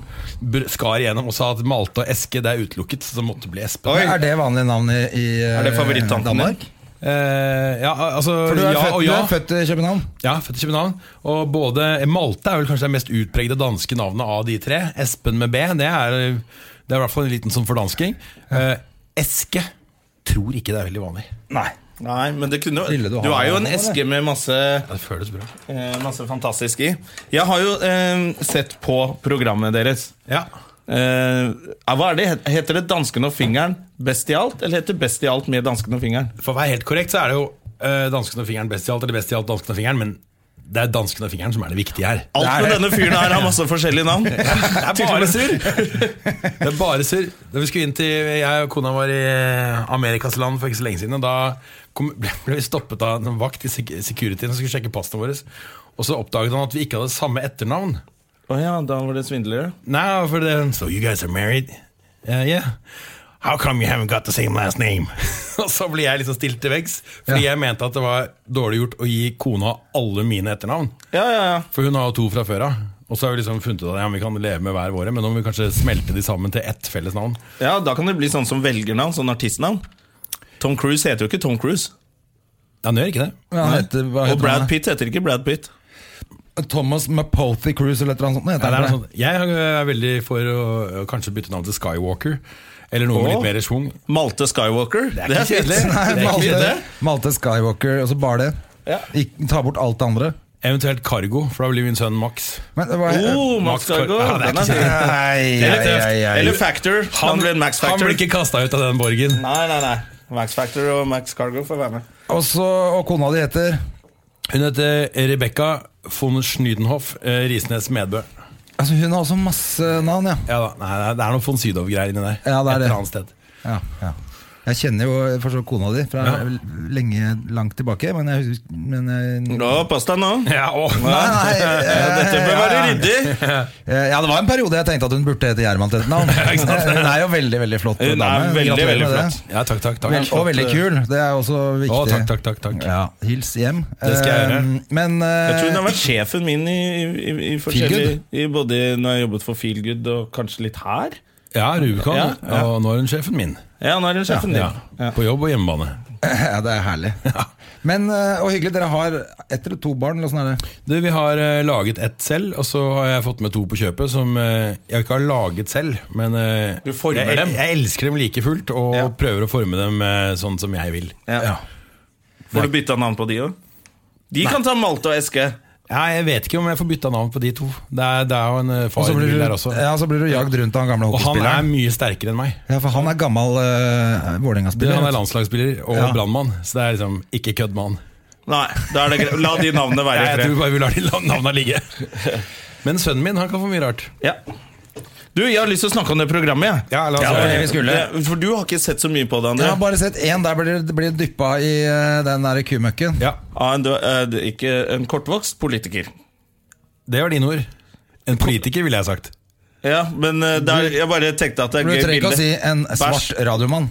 [SPEAKER 4] br- skar igjennom og sa at Malte og Eske det er utelukket. Så det måtte bli Espen.
[SPEAKER 1] Oi.
[SPEAKER 2] Er det vanlige navn i, i eh,
[SPEAKER 1] Er det favorittanten din?
[SPEAKER 2] Danmark?
[SPEAKER 4] Eh, ja, altså
[SPEAKER 2] For du er,
[SPEAKER 4] ja
[SPEAKER 2] født,
[SPEAKER 4] og ja.
[SPEAKER 2] du er født i København?
[SPEAKER 4] Ja, født i København. Og både eh, Malte er vel kanskje det mest utpregde danske navnet av de tre. Espen med B, det er, eh, det er i hvert fall en liten sånn fordansking. Eh, Eske tror ikke det er veldig vanlig.
[SPEAKER 2] Nei.
[SPEAKER 1] Nei, men det kunne
[SPEAKER 2] Ville
[SPEAKER 1] jo
[SPEAKER 2] du ha
[SPEAKER 1] Du er jo
[SPEAKER 2] han,
[SPEAKER 1] en
[SPEAKER 2] eller?
[SPEAKER 1] eske med masse
[SPEAKER 4] Ja, det føles bra.
[SPEAKER 1] eh, Masse fantastisk i. Jeg har jo eh, sett på programmet deres.
[SPEAKER 4] Ja.
[SPEAKER 1] Eh, hva er det? Heter det 'Dansken og fingeren' best i alt, eller heter det 'Best i alt' med 'Dansken og fingeren'?
[SPEAKER 4] For å være helt korrekt så er det jo eh, dansken og fingeren best i alt, eller best i alt dansken og fingeren, men det er dansken og fingeren som er det viktige her.
[SPEAKER 1] Alt med denne fyren her har masse forskjellige navn.
[SPEAKER 4] Det er bare surr! Det er bare surr. Da vi skulle inn til Jeg og kona var i eh, Amerikas land for ikke så lenge siden, og da kom, ble, ble vi stoppet av en vakt i sek- securityen som skulle sjekke passene våre. Og så oppdaget han at vi ikke hadde samme etternavn.
[SPEAKER 1] Å ja, da var det svindlere.
[SPEAKER 4] Nei, for det So you guys are married? Eh, yeah. How come you haven't got the same last name? og så ble jeg liksom stilt til veggs, fordi jeg mente at det var dårlig gjort å gi kona alle mine etternavn.
[SPEAKER 1] Ja, ja, ja.
[SPEAKER 4] For hun har jo to fra før av. Og så har vi liksom funnet ut at ja, vi kan leve med hver våre, men nå må vi kanskje smelte de sammen til ett felles navn.
[SPEAKER 1] Ja, Da kan det bli sånn som velgernavn, sånn artistnavn. Tom Cruise heter jo ikke Tom Cruise.
[SPEAKER 4] Ja, han gjør ikke det.
[SPEAKER 2] Men han heter, hva
[SPEAKER 1] Og
[SPEAKER 2] heter
[SPEAKER 1] Brad
[SPEAKER 2] han?
[SPEAKER 1] Pitt heter ikke Brad Pitt.
[SPEAKER 2] Thomas Mapothy Cruise eller et eller annet sånt.
[SPEAKER 4] Ja,
[SPEAKER 2] Heter
[SPEAKER 4] det er
[SPEAKER 2] han det?
[SPEAKER 4] noe sånt. Jeg øh, er veldig for å å kanskje bytte navn til Skywalker. Eller noe med
[SPEAKER 1] Åh.
[SPEAKER 4] litt mer schwung.
[SPEAKER 1] Malte Skywalker. Det
[SPEAKER 4] ikke
[SPEAKER 1] fint.
[SPEAKER 4] kjedelig.
[SPEAKER 1] Nei, det
[SPEAKER 2] Nei,
[SPEAKER 1] er ikke
[SPEAKER 2] Malte,
[SPEAKER 1] det.
[SPEAKER 2] Malte Skywalker, og så bare det.
[SPEAKER 1] Ja.
[SPEAKER 2] Ikke, ta bort alt det andre.
[SPEAKER 4] Eventuelt Cargo, for da blir min sønn Max.
[SPEAKER 2] Men det var,
[SPEAKER 1] Oh, Max
[SPEAKER 4] Max Skar-
[SPEAKER 1] Skywalker.
[SPEAKER 4] Ja, det
[SPEAKER 1] den
[SPEAKER 4] er
[SPEAKER 1] er
[SPEAKER 4] ikke
[SPEAKER 1] fin.
[SPEAKER 4] kjedelig.
[SPEAKER 2] Nei,
[SPEAKER 1] Eller
[SPEAKER 2] ei, ei, ei.
[SPEAKER 1] Eller Factor. Han, blir en Max
[SPEAKER 4] han
[SPEAKER 1] Factor.
[SPEAKER 4] blir ikke kasta ut av den borgen.
[SPEAKER 1] Nei, nei, nei. Max Factor og Max Cargo får være med.
[SPEAKER 2] Og så, og kona di heter
[SPEAKER 4] Hun heter Rebekka von Schnydenhoff eh, Risnes Medbø.
[SPEAKER 2] Altså Hun har også masse navn, ja.
[SPEAKER 4] Ja da, nei, det er- det er noe von Sydow-greier inni der.
[SPEAKER 2] Ja, det er
[SPEAKER 4] Et
[SPEAKER 2] det.
[SPEAKER 4] eller annet sted.
[SPEAKER 2] ja, ja. Jeg kjenner jo for så vidt kona di fra lenge langt tilbake, men jeg husker men jeg,
[SPEAKER 1] Ja, pass deg nå.
[SPEAKER 4] Ja, å,
[SPEAKER 2] Nei, nei,
[SPEAKER 1] Ja, dette bør
[SPEAKER 2] ja,
[SPEAKER 1] være
[SPEAKER 2] ja.
[SPEAKER 1] ryddig.
[SPEAKER 2] Eh, Ja, det var en periode jeg tenkte at hun burde hete Gjerman til et navn. Hun er jo veldig, veldig flott
[SPEAKER 1] Hun er
[SPEAKER 2] dame.
[SPEAKER 1] veldig,
[SPEAKER 2] Gratulerer
[SPEAKER 1] veldig
[SPEAKER 2] med det.
[SPEAKER 1] flott.
[SPEAKER 4] ja, takk, takk, takk.
[SPEAKER 2] Vel, og veldig kul. Det er også viktig.
[SPEAKER 4] Å, takk, takk, takk, takk.
[SPEAKER 2] Ja, hils hjem.
[SPEAKER 4] Det skal jeg gjøre.
[SPEAKER 2] Eh, Men
[SPEAKER 1] Jeg tror hun har
[SPEAKER 2] eh,
[SPEAKER 1] vært sjefen min i, i, i forskjellige
[SPEAKER 2] Feelgood?
[SPEAKER 1] i Både når jeg jobbet for Feelgood og kanskje litt her.
[SPEAKER 4] Ja, Rubicon.
[SPEAKER 1] Ja, ja.
[SPEAKER 4] Og nå er hun sjefen min.
[SPEAKER 1] Ja, nå er hun sjefen
[SPEAKER 4] Ja.
[SPEAKER 1] din. Ja.
[SPEAKER 4] På jobb og hjemmebane.
[SPEAKER 2] ja, det er herlig. Men, eh, og hyggelig, dere har ett eller to barn? Eller sånn er det.
[SPEAKER 4] Du, vi har eh, laget ett selv, og så har jeg fått med to på kjøpet som eh, jeg ikke har laget selv, men eh,
[SPEAKER 1] Du former
[SPEAKER 4] jeg,
[SPEAKER 1] dem.
[SPEAKER 4] Jeg elsker dem like fullt, og
[SPEAKER 1] Ja.
[SPEAKER 4] prøver å forme dem eh, sånn som jeg vil.
[SPEAKER 1] Ja. Får du bytta navn på de òg? De kan ta Malte og Eske.
[SPEAKER 4] Ja, jeg vet ikke om jeg får bytta navn på de to. Det er, det er jo en eh, far i bildet der også.
[SPEAKER 2] ja, så blir du jagd rundt av han gamle
[SPEAKER 4] Og han er
[SPEAKER 2] hockeyspilleren.
[SPEAKER 4] mye sterkere enn meg.
[SPEAKER 2] Ja, for han er gammel uh,
[SPEAKER 4] Du,
[SPEAKER 2] Vålerenga-spiller.
[SPEAKER 4] han er landslagsspiller og
[SPEAKER 2] Ja.
[SPEAKER 4] brannmann, så det er liksom ikke kødd med han.
[SPEAKER 1] Nei, da er det greit. La de navnene
[SPEAKER 4] Nei,
[SPEAKER 1] være i
[SPEAKER 4] jeg tror
[SPEAKER 1] fred.
[SPEAKER 4] bare vi lar de navna ligge. Men sønnen min han kan få mye rart.
[SPEAKER 1] Ja. Du, jeg har lyst til å snakke om det programmet. jeg.
[SPEAKER 4] Ja, la oss
[SPEAKER 2] Ja, altså, det var det vi skulle.
[SPEAKER 1] Det- For du har ikke sett så mye på det,
[SPEAKER 2] Jeg
[SPEAKER 1] André.
[SPEAKER 2] har bare sett én der blir, blir dyppa i eh, den der kumøkken.
[SPEAKER 4] Ja,
[SPEAKER 1] Av en, eh, ikke en kortvokst politiker.
[SPEAKER 4] Det var dine ord. En politiker, ville jeg sagt.
[SPEAKER 1] Ja, men eh, der, jeg bare tenkte at det er
[SPEAKER 2] Du
[SPEAKER 1] gøy
[SPEAKER 2] trenger
[SPEAKER 1] bilde.
[SPEAKER 2] ikke å si en svart radiomann.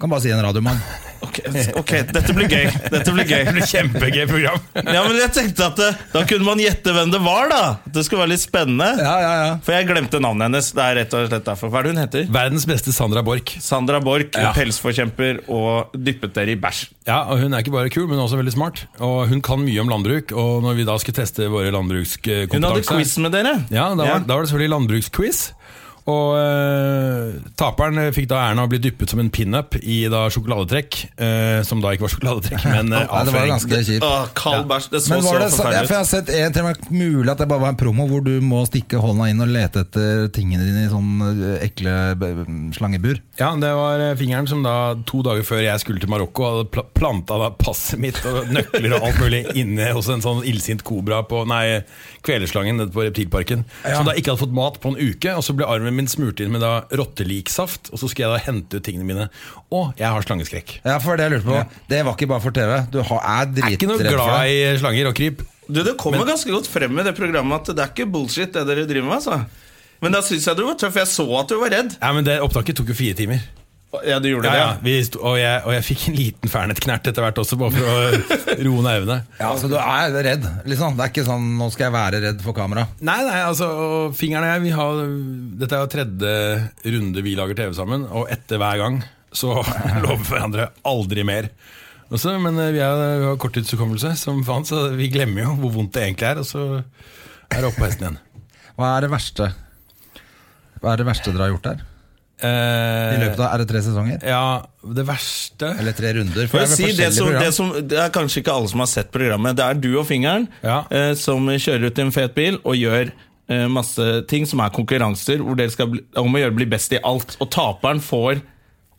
[SPEAKER 2] Kan bare si en radiomann.
[SPEAKER 1] Ok, ok, dette blir gøy. Dette blir gøy.
[SPEAKER 4] Det blir kjempegøy program.
[SPEAKER 1] Ja, men jeg tenkte at eh, Da kunne man gjette hvem det var, da. Det skulle være litt spennende.
[SPEAKER 2] Ja, ja, ja.
[SPEAKER 1] For jeg glemte navnet hennes. Det er rett og slett derfor. Hva er det hun heter?
[SPEAKER 4] Verdens beste Sandra Borch.
[SPEAKER 1] Sandra Borch,
[SPEAKER 4] Ja.
[SPEAKER 1] pelsforkjemper og dyppet dere i bæsj.
[SPEAKER 4] Ja, og Hun er ikke bare kul, men også veldig smart. Og Hun kan mye om landbruk. Og når vi da skulle teste våre landbrukskompetanse
[SPEAKER 1] Hun hadde quiz med dere.
[SPEAKER 4] Ja, da var,
[SPEAKER 1] Ja.
[SPEAKER 4] da var det selvfølgelig landbruksquiz. Og eh, taperen fikk da æren av å bli dyppet som en pinup i da sjokoladetrekk. eh, som da ikke var sjokoladetrekk, men eh,
[SPEAKER 2] Nei, det var
[SPEAKER 4] avføring.
[SPEAKER 2] ganske kjipt.
[SPEAKER 1] Åh, kald bæsj. Det så
[SPEAKER 2] Men
[SPEAKER 1] så
[SPEAKER 2] var det, så, ja,
[SPEAKER 1] forferdelig
[SPEAKER 2] for
[SPEAKER 1] ut.
[SPEAKER 2] jeg har sett en, til og med mulig at det bare var en promo hvor du må stikke hånda inn og lete etter tingene dine i sånn eh, ekle b- slangebur.
[SPEAKER 4] Ja, det var eh, fingeren som da to dager før jeg skulle til Marokko, hadde pla planta da passet mitt og nøkler og alt mulig inne hos en sånn illsint kobra på Nei, kvelerslangen nede på Reptilparken. Som da ikke hadde fått mat på en uke, og så ble armen min smurt inn med da rotteliksaft. Og så skulle jeg da hente ut tingene mine. Å, jeg har slangeskrekk.
[SPEAKER 2] Ja, for det jeg lurte på, det var ikke bare for TV. Du har, er
[SPEAKER 4] Jeg er ikke
[SPEAKER 2] dritredd
[SPEAKER 4] noe
[SPEAKER 2] for
[SPEAKER 4] glad
[SPEAKER 2] det.
[SPEAKER 4] i slanger og kryp.
[SPEAKER 1] Du, Det kommer ganske godt frem i det programmet at det er ikke bullshit, det dere driver med. altså Men da syns jeg du var tøff. Jeg så at du var redd.
[SPEAKER 4] Ja, men det Opptaket tok jo fire timer.
[SPEAKER 1] Ja, du gjorde
[SPEAKER 4] Ja,
[SPEAKER 1] det,
[SPEAKER 4] ja. Vi sto, og, jeg, og jeg fikk en liten fernet-knert etter hvert også, bare for å roe nervene.
[SPEAKER 2] Ja, så du er redd, liksom. Det er ikke sånn 'nå skal jeg være redd for kamera'.
[SPEAKER 4] Nei, nei, altså og Fingeren og jeg vi har, Dette er jo tredje runde vi lager TV sammen Og etter hver gang Så lover vi hverandre aldri mer Og så, Men eh, vi, er, vi har korttidshukommelse som faen Så vi glemmer jo hvor vondt det egentlig er Og så er det opp på hesten igjen
[SPEAKER 2] Hva er det verste Hva er det verste dere har gjort der?
[SPEAKER 1] Eh,
[SPEAKER 2] I løpet av, Er det tre sesonger?
[SPEAKER 4] Eh, Ja, det verste
[SPEAKER 2] Eller tre runder? For
[SPEAKER 1] For
[SPEAKER 2] det
[SPEAKER 1] å
[SPEAKER 2] er vel
[SPEAKER 1] si, det,
[SPEAKER 2] forskjellige
[SPEAKER 1] som, det,
[SPEAKER 2] program.
[SPEAKER 1] som, det er kanskje ikke alle som har sett programmet. Det er du og fingeren
[SPEAKER 4] Ja.
[SPEAKER 1] eh, som kjører ut i en fet bil og gjør eh, masse ting som er konkurranser, hvor dere skal bli, om å gjøre bli best i alt. Og taperen får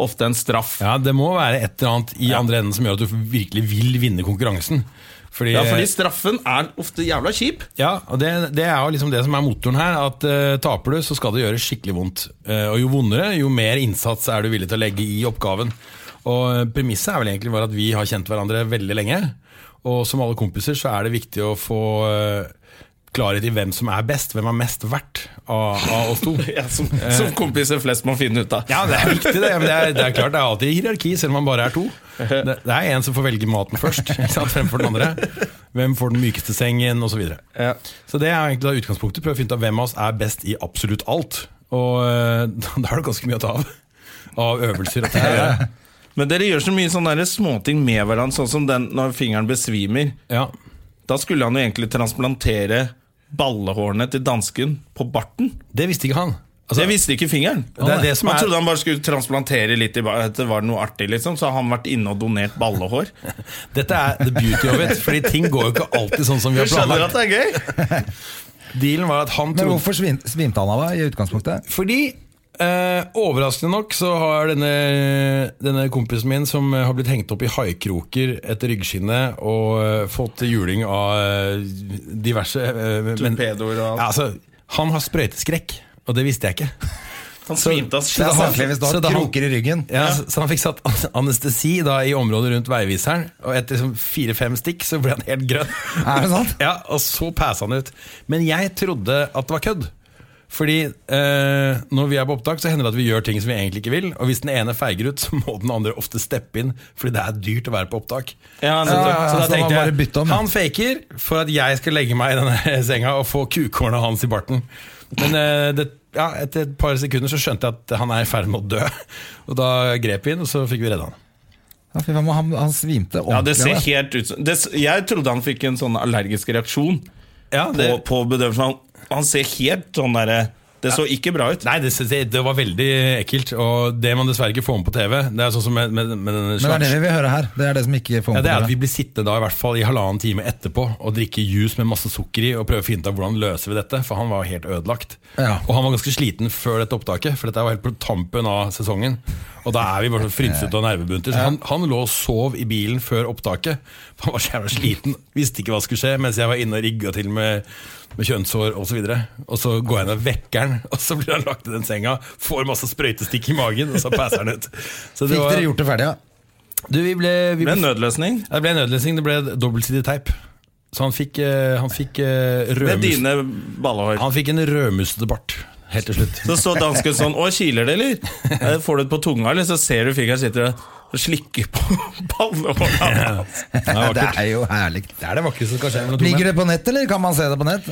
[SPEAKER 1] ofte en straff. Ja,
[SPEAKER 4] Ja, det må være et eller annet i andre enden Som gjør at du virkelig vil vinne konkurransen fordi,
[SPEAKER 1] fordi straffen er ofte jævla kjip.
[SPEAKER 4] Ja, og det, det er jo liksom det som er motoren her. At eh, taper du, så skal det gjøre skikkelig vondt. Eh, og jo vondere, jo mer innsats er du villig til å legge i oppgaven. Og eh, premisset er vel egentlig bare at vi har kjent hverandre veldig lenge. Og som alle kompiser så er det viktig å få eh, klarhet i hvem som er best, hvem er mest verdt av, av oss to.
[SPEAKER 1] Ja, som, som kompiser flest må finne ut av.
[SPEAKER 4] Ja, det er viktig, det. Men det er, det er klart det er alltid hierarki, selv om man bare er to. Det, det er en som får velge maten først, ikke sant, fremfor den andre. Hvem får den mykeste sengen, osv. Så, videre. så det er egentlig da utgangspunktet. Prøve å finne ut av hvem av oss er best i absolutt alt. Og eh, da da er det ganske mye å ta av. Av øvelser. Og ja.
[SPEAKER 1] Men dere gjør så mye sånne der småting med hverandre, sånn som den når fingeren besvimer.
[SPEAKER 4] ja.
[SPEAKER 1] Da skulle han jo egentlig transplantere ballehårene til dansken på barten.
[SPEAKER 4] Det visste ikke han. Altså,
[SPEAKER 1] det visste ikke fingeren.
[SPEAKER 4] Det er det som
[SPEAKER 1] han
[SPEAKER 4] er-
[SPEAKER 1] trodde han bare skulle transplantere litt i ba- at det var noe artig, liksom. Så har han vært inne og donert ballehår.
[SPEAKER 4] Dette er the beauty of it. Fordi ting går jo ikke alltid sånn som
[SPEAKER 1] Du
[SPEAKER 4] vi har
[SPEAKER 1] skjønner at
[SPEAKER 4] planlagt.
[SPEAKER 1] det er gøy?
[SPEAKER 4] Dealen var at han
[SPEAKER 2] Men
[SPEAKER 4] trodde
[SPEAKER 2] hvorfor svim, svimte han av deg i utgangspunktet?
[SPEAKER 4] Fordi eh, overraskende nok så har denne, denne kompisen min som eh, har blitt hengt opp i haikroker etter ryggskinnet og eh, fått juling av eh, diverse eh, men-
[SPEAKER 1] Torpedoer og alt.
[SPEAKER 4] Ja, altså, han har sprøyteskrekk, og det visste jeg ikke.
[SPEAKER 1] Han svimte av altså.
[SPEAKER 2] Det er
[SPEAKER 1] skjedd.
[SPEAKER 2] håndkle hvis du
[SPEAKER 4] Så
[SPEAKER 2] har
[SPEAKER 4] da-
[SPEAKER 2] kroker i ryggen.
[SPEAKER 4] Ja, så, så han fikk satt an- anestesi da, i området rundt veiviseren, og etter sånn fire-fem stikk så ble han helt grønn.
[SPEAKER 2] Er det sant?
[SPEAKER 4] Ja, Og så passa han ut. Men jeg trodde at det var kødd. Fordi eh, når vi er på opptak, så hender det at vi gjør ting som vi egentlig ikke vil. Og hvis den ene feiger ut, så må den andre ofte steppe inn, fordi det er dyrt å være på opptak.
[SPEAKER 1] Ja, nettopp.
[SPEAKER 4] så da
[SPEAKER 2] så han
[SPEAKER 4] tenkte
[SPEAKER 2] bare
[SPEAKER 4] jeg
[SPEAKER 2] bytte om, ja.
[SPEAKER 4] Han faker for at jeg skal legge meg i denne senga og få kukhårene hans i barten. Men eh, det, ja, etter et par sekunder så skjønte jeg at han er i ferd med å dø. Og da grep vi inn, og så fikk vi redda han.
[SPEAKER 2] Ja, fy faen, han, han svimte
[SPEAKER 1] Ja, det
[SPEAKER 2] ordentlig.
[SPEAKER 1] ser
[SPEAKER 2] av det.
[SPEAKER 1] helt ut som det, Jeg trodde han fikk en sånn allergisk reaksjon
[SPEAKER 4] Ja,
[SPEAKER 1] på,
[SPEAKER 4] det,
[SPEAKER 1] på bedøvelsen. Han, han ser helt sånn derre Det så ikke bra ut.
[SPEAKER 4] nei, det, det, det var veldig ekkelt, og det man dessverre ikke får med på TV Det er sånn som med, med, med den
[SPEAKER 2] Men det er det
[SPEAKER 4] slags
[SPEAKER 2] vi vil høre her. Det er det som ikke får
[SPEAKER 4] ja,
[SPEAKER 2] med
[SPEAKER 4] det er at
[SPEAKER 2] på
[SPEAKER 4] vi blir sittende da i hvert fall i halvannen time etterpå og drikke juice med masse sukker i og prøve å finne ut av hvordan løser vi dette, for han var helt ødelagt.
[SPEAKER 2] Ja.
[SPEAKER 4] Og han var ganske sliten før dette opptaket, for dette var helt på tampen av sesongen. Og da er vi bare så frynsete og nervebunter. Så han, han lå og sov i bilen før opptaket. for Han var så jævla sliten, visste ikke hva skulle skje, mens jeg var inne og rigga til med, med kjønnshår osv. Og så går jeg ned og vekker han, og så blir han lagt i den senga, får masse sprøytestikk i magen, og så passer han ut. Så
[SPEAKER 2] Fikk
[SPEAKER 4] var-
[SPEAKER 2] dere gjort det ferdig, ja?
[SPEAKER 4] Du, vi ble, vi ble
[SPEAKER 1] Med nødløsning.
[SPEAKER 4] ja, Det ble nødløsning, det ble dobbeltsidig teip. Så han fikk, eh, han fikk eh,
[SPEAKER 1] Med
[SPEAKER 4] rødmus...
[SPEAKER 1] dine ballehår.
[SPEAKER 4] Han fikk en rødmusete bart helt til slutt.
[SPEAKER 1] Så så dansken sånn Å, kiler det, eller? Eh, Får du det på tunga, eller? Så ser du fingeren sitter og slikker på ballehåra.
[SPEAKER 4] Det er
[SPEAKER 2] Det
[SPEAKER 4] vakkert.
[SPEAKER 2] er jo herlig.
[SPEAKER 4] Det er det vakreste som kan skje mellom to
[SPEAKER 2] Ligger
[SPEAKER 4] menn.
[SPEAKER 2] det på nett, eller kan man se det på nett?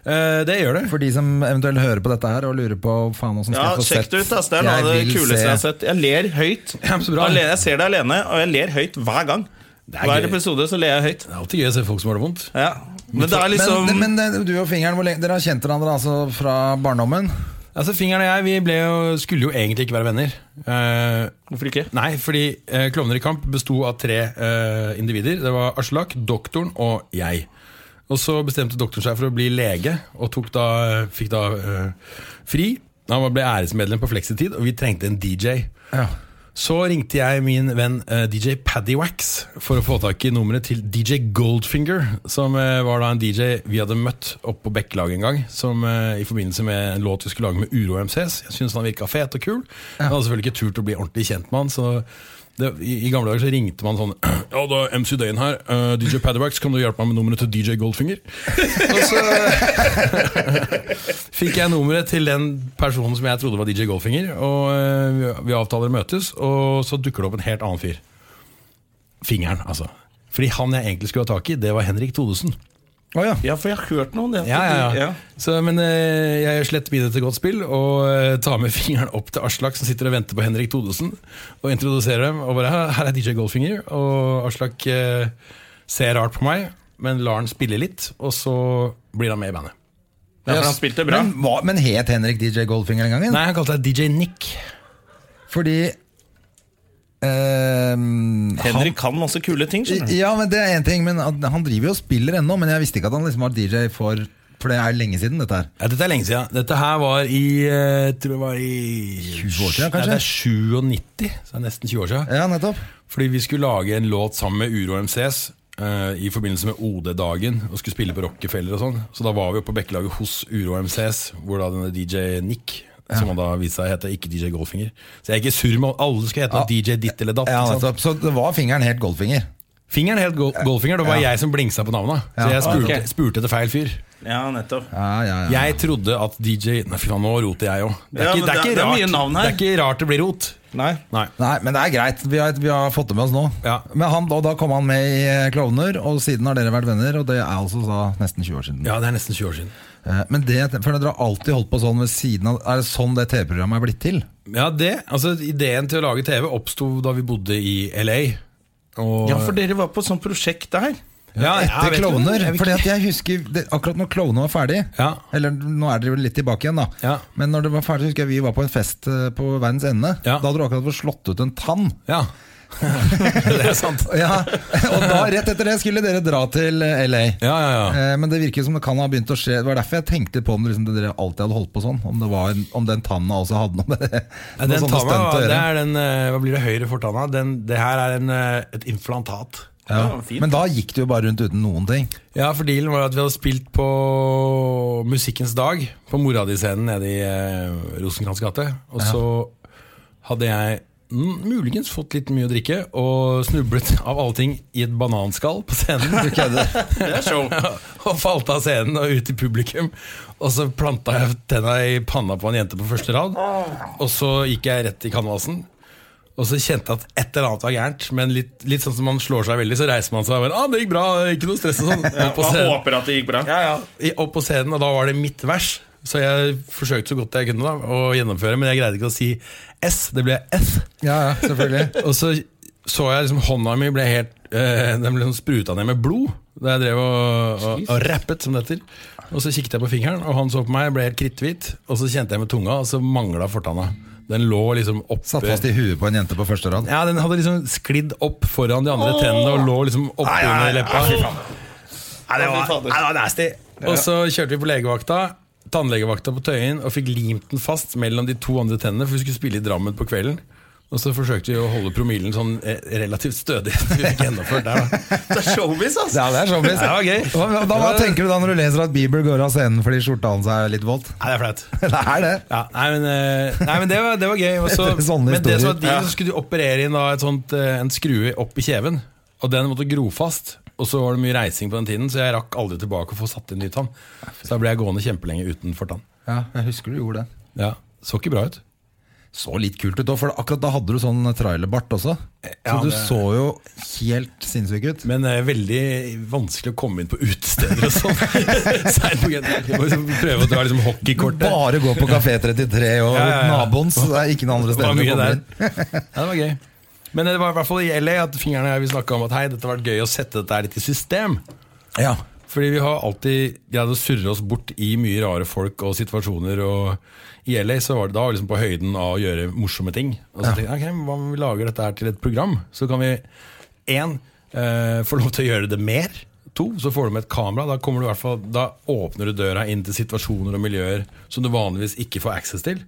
[SPEAKER 4] Eh, det gjør det.
[SPEAKER 2] For de som eventuelt hører på dette her og lurer på faen hvordan skal
[SPEAKER 1] Ja,
[SPEAKER 2] jeg få
[SPEAKER 1] sjekk
[SPEAKER 2] sett
[SPEAKER 1] det ut. ass. Det er noe av det
[SPEAKER 2] vil
[SPEAKER 1] kuleste
[SPEAKER 2] se-
[SPEAKER 1] jeg har sett. Jeg ler høyt.
[SPEAKER 4] Ja, men så bra.
[SPEAKER 1] Alene, jeg ser det alene, og jeg ler høyt hver gang.
[SPEAKER 4] er
[SPEAKER 1] Hver
[SPEAKER 4] gøy.
[SPEAKER 1] episode så ler jeg høyt.
[SPEAKER 4] Det er alltid gøy å se folk som har det vondt.
[SPEAKER 1] Ja. Men det er liksom
[SPEAKER 2] men, men eh, du og fingeren, hvor lenge, dere har kjent hverandre altså fra barndommen?
[SPEAKER 4] Altså, Fingeren og jeg vi ble jo, skulle jo egentlig ikke være venner. Eh,
[SPEAKER 1] Hvorfor ikke?
[SPEAKER 4] nei, fordi eh, Klovner i kamp besto av tre eh, individer. Det var Aslak, doktoren og jeg. Og så bestemte doktoren seg for å bli lege, og tok da, fikk da eh, fri. Han ble æresmedlem på Flexitid, og vi trengte en DJ.
[SPEAKER 2] Ja.
[SPEAKER 4] Så ringte jeg min venn eh, DJ Paddy Wax for å få tak i nummeret til DJ Goldfinger, som eh, var da en DJ vi hadde møtt oppe på Bekkelaget en gang, som, eh, i forbindelse med en låt vi skulle lage med Uro MCS. Jeg syntes han virka fet og kul. Jeg hadde selvfølgelig ikke turt å bli ordentlig kjent med han, så det, i, i gamle dager så ringte man sånn Ja, det er MC Dane her. eh, DJ Paddy Wax, kan du hjelpe meg med nummeret til DJ Goldfinger? og så fikk jeg nummeret til den personen som jeg trodde var DJ Goldfinger. Og eh, vi- vi avtaler å møtes, og så dukker det opp en helt annen fyr. Fingeren, altså. Fordi han jeg egentlig skulle ha tak i, det var Henrik Thodesen.
[SPEAKER 2] Å ja.
[SPEAKER 1] Ja, for jeg har hørt noe om det.
[SPEAKER 4] Ja, ja, ja. Så, men eh, jeg gjør slett mine til godt spill og eh, tar med fingeren opp til Aslak, som sitter og venter på Henrik Thodesen, og introduserer dem. Og bare "Her- 'Her er DJ Goldfinger'. Og Aslak eh, ser rart på meg, men lar han spille litt, og så blir han med i bandet.
[SPEAKER 1] Ja, for han spilte bra.
[SPEAKER 2] Men, hva, men het Henrik DJ Goldfinger den gangen?
[SPEAKER 4] Nei, han kalte seg DJ Nick.
[SPEAKER 2] Fordi ehm,
[SPEAKER 1] Henrik kan masse kule ting, skjønner du.
[SPEAKER 2] Ja, men det er en ting, men at han driver jo og spiller ennå, men jeg visste ikke at han liksom var DJ for For det er lenge siden, dette her.
[SPEAKER 4] Ja, dette er lenge siden. Dette her var i eh, jeg tror det var i
[SPEAKER 2] 20 år siden, kanskje?
[SPEAKER 4] Nei, det er 97, så det er nesten 20 år siden.
[SPEAKER 2] Ja, nettopp.
[SPEAKER 4] Fordi vi skulle lage en låt sammen med Uro MCS eh, i forbindelse med OD-dagen, og skulle spille på Rockefeller og sånn. Så da var vi oppe på Bekkelaget hos Uro MCS, hvor da denne DJ Nick Som han da viste seg hete, ikke DJ Goldfinger. Så jeg er ikke sur med alle skal hete noe DJ ditt eller datt.
[SPEAKER 2] Ja,
[SPEAKER 4] ikke sant?
[SPEAKER 2] nettopp. Så det var fingeren helt Goldfinger.
[SPEAKER 4] Fingeren het Go- Goldfinger, det var jeg som blingsa på navnet. Så
[SPEAKER 2] Ja,
[SPEAKER 4] jeg spurte,
[SPEAKER 1] ok.
[SPEAKER 4] spurte etter feil fyr.
[SPEAKER 1] Ja, nettopp.
[SPEAKER 2] Ja, ja, ja.
[SPEAKER 4] Jeg trodde at DJ Nei, fy faen, nå roter jeg òg. Det, er
[SPEAKER 1] Ja,
[SPEAKER 4] ikke-
[SPEAKER 1] men
[SPEAKER 4] det, er
[SPEAKER 1] det er-
[SPEAKER 4] ikke
[SPEAKER 1] det er
[SPEAKER 4] rart-
[SPEAKER 1] mye navn her.
[SPEAKER 4] det er ikke rart det blir rot.
[SPEAKER 1] Nei.
[SPEAKER 4] Nei.
[SPEAKER 2] Nei, men det er greit. Vi har, vi har fått det med oss nå.
[SPEAKER 4] Ja.
[SPEAKER 2] Men han, og da kom han med i eh, Klovner, og siden har dere vært venner, og det er altså da nesten 20 år siden.
[SPEAKER 4] Ja, det er nesten 20 år siden.
[SPEAKER 2] Eh, Men det, for dere har alltid holdt på sånn ved siden av Er det sånn det TV-programmet er blitt til?
[SPEAKER 4] Ja, det, altså Ideen til å lage TV oppsto da vi bodde i LA. Og,
[SPEAKER 1] Ja, for dere var på et sånt prosjekt der.
[SPEAKER 4] Ja, jeg
[SPEAKER 2] Etter
[SPEAKER 4] vet ikke.
[SPEAKER 2] Klovner?
[SPEAKER 4] Jeg vet
[SPEAKER 2] Fordi
[SPEAKER 4] ikke.
[SPEAKER 2] at jeg husker det, Akkurat når Klovner var ferdig
[SPEAKER 4] Ja.
[SPEAKER 2] Eller nå er dere jo litt tilbake igjen, da.
[SPEAKER 4] Ja.
[SPEAKER 2] Men når det var ferdig, husker jeg vi var på en fest eh, på verdens ende.
[SPEAKER 4] Ja.
[SPEAKER 2] Da hadde du akkurat fått slått ut en tann.
[SPEAKER 4] Ja. det er sant.
[SPEAKER 2] Ja, og da rett etter det skulle dere dra til eh, LA.
[SPEAKER 4] Ja, ja, ja.
[SPEAKER 2] Eh, Men det virker som det kan ha begynt å skje. Det var derfor jeg tenkte på om det liksom, det dere alltid hadde holdt på sånn. Om, det var en, om den tanna også hadde noe med det noe
[SPEAKER 4] Ja, Den
[SPEAKER 2] sånne
[SPEAKER 4] tanna,
[SPEAKER 2] stunt å
[SPEAKER 4] det
[SPEAKER 2] gjøre.
[SPEAKER 4] er den, eh, hva blir det høyre fortanna? Den, det her er en, eh, et implantat.
[SPEAKER 2] Ja.
[SPEAKER 1] Ja, fint.
[SPEAKER 2] Men da gikk du jo bare rundt uten noen ting.
[SPEAKER 4] Ja, for dealen var at vi hadde spilt på Musikkens dag, på mora di-scenen nede i eh, Rosenkrantz gate. Og så hadde jeg mm, muligens fått litt mye å drikke, og snublet av alle ting i et bananskall på scenen.
[SPEAKER 1] Det er show.
[SPEAKER 4] og falt av scenen og ut i publikum. Og så planta jeg tenna i panna på en jente på første rad. Og så gikk jeg rett i kanvasen. Og så kjente jeg at et eller annet var gærent. Men litt, litt sånn som man slår seg veldig, så reiser man seg og bare ah, 'Det gikk bra, ikke noe stress' og sånn. Opp på
[SPEAKER 1] Man
[SPEAKER 4] scenen.
[SPEAKER 1] håper at det gikk bra.
[SPEAKER 4] Ja, ja. I- Opp på scenen, og da var det mitt vers. Så jeg forsøkte så godt jeg kunne da, å gjennomføre, men jeg greide ikke å si S. Det ble F.
[SPEAKER 2] Ja, ja, selvfølgelig.
[SPEAKER 4] Og så så jeg liksom hånda mi ble helt eh, Den ble sånn spruta ned med blod da jeg drev og, og, og rappet, som det heter. Og så kikket jeg på fingeren, og han så på meg, ble helt kritthvit. Og så kjente jeg med tunga, og så mangla fortanna. Den lå liksom oppe
[SPEAKER 2] Satt fast i huet på en jente på første rad.
[SPEAKER 4] ja, den hadde liksom sklidd opp foran de andre tennene og lå liksom oppunder leppa. Nei, det var, nei, det var nasty. Og så kjørte vi på legevakta, tannlegevakta på Tøyen, og fikk limt den fast mellom de to andre tennene, for vi skulle spille i Drammen på kvelden. Og så forsøkte vi å holde promillen sånn eh, relativt stødig. Vi fikk gjennomført der, da.
[SPEAKER 1] Det er showbiz, ass.
[SPEAKER 2] Ja, det er showbiz.
[SPEAKER 4] Det var gøy.
[SPEAKER 2] Hva, hva- da, hva tenker du da når du leser at Bieber går av scenen fordi skjorta hans er litt våt?
[SPEAKER 4] Nei, det er flaut.
[SPEAKER 2] Det er det.
[SPEAKER 4] Ja, nei, men, eh, nei, men det var, det var gøy. Og så-
[SPEAKER 2] Det er sånne
[SPEAKER 4] men det som
[SPEAKER 2] historier.
[SPEAKER 4] var de så skulle de operere inn da, et sånt, eh, en skrue opp i kjeven, og den måtte gro fast. Og så var det mye reising på den tiden, så jeg rakk aldri tilbake å få satt inn ny tann. Så da ble jeg gående kjempelenge uten fortann.
[SPEAKER 2] Ja, jeg husker du gjorde det.
[SPEAKER 4] Ja, så ikke bra ut.
[SPEAKER 2] Så litt kult ut òg, for akkurat da hadde du sånn trailerbart også. Så
[SPEAKER 4] Ja,
[SPEAKER 2] du
[SPEAKER 4] det-
[SPEAKER 2] så jo helt sinnssyk ut.
[SPEAKER 4] Men eh, veldig vanskelig å komme inn på utesteder og sånn. Seint på kvelden. Jeg må liksom Prøve å dra liksom hockeykortet.
[SPEAKER 2] Bare gå på Kafé 33 og
[SPEAKER 4] Ja, ja, ja.
[SPEAKER 2] naboen, så det er ikke noen andre
[SPEAKER 4] Det
[SPEAKER 2] steder
[SPEAKER 4] var
[SPEAKER 2] du
[SPEAKER 4] mye
[SPEAKER 2] kommer
[SPEAKER 4] der.
[SPEAKER 2] inn.
[SPEAKER 4] Ja, det var gøy. Men det var i hvert fall i LA at fingrene og jeg vil snakke om at hei, dette har vært gøy å sette dette her litt i system.
[SPEAKER 2] Ja.
[SPEAKER 4] Fordi vi har alltid greid å surre oss bort i mye rare folk og situasjoner. Og I LA så var det da liksom på høyden av å gjøre morsomme ting. Og så tenkte jeg, ok, hva om vi lager dette her til et program? Så kan vi én eh, få lov til å gjøre det mer. To, så får du med et kamera. Da, kommer du i hvert fall, da åpner du døra inn til situasjoner og miljøer som du vanligvis ikke får access til.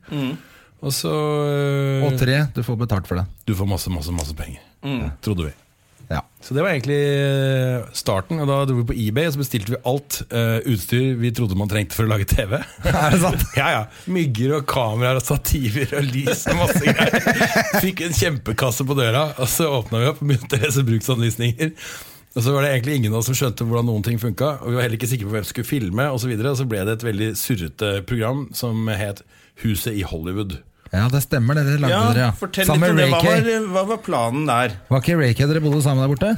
[SPEAKER 4] Og så eh,
[SPEAKER 2] Og tre, du får betalt for det.
[SPEAKER 4] Du får masse, masse, masse penger. Trodde vi.
[SPEAKER 2] Ja.
[SPEAKER 4] Så det var egentlig eh, starten. Og da dro vi på eBay og så bestilte vi alt eh, utstyr vi trodde man trengte for å lage TV.
[SPEAKER 2] Er det sant?
[SPEAKER 4] ja, ja. Mygger og kameraer og stativer og lys og masse greier. Fikk en kjempekasse på døra, og så åpna vi opp og begynte å lese bruksanvisninger. Og så var det egentlig ingen av oss som skjønte hvordan noen ting funka. Og vi var heller ikke sikre på hvem som skulle filme, og så, videre, og så ble det et veldig surrete program som het Huset i Hollywood.
[SPEAKER 2] Ja, det stemmer, det. Det lagde dere,
[SPEAKER 1] Ja,
[SPEAKER 2] ja.
[SPEAKER 1] fortell litt
[SPEAKER 2] Sammen
[SPEAKER 1] om
[SPEAKER 2] med
[SPEAKER 1] det. Hva var,
[SPEAKER 2] Ray-K.
[SPEAKER 1] hva var planen der?
[SPEAKER 2] Var ikke Ray-K dere bodde sammen der borte?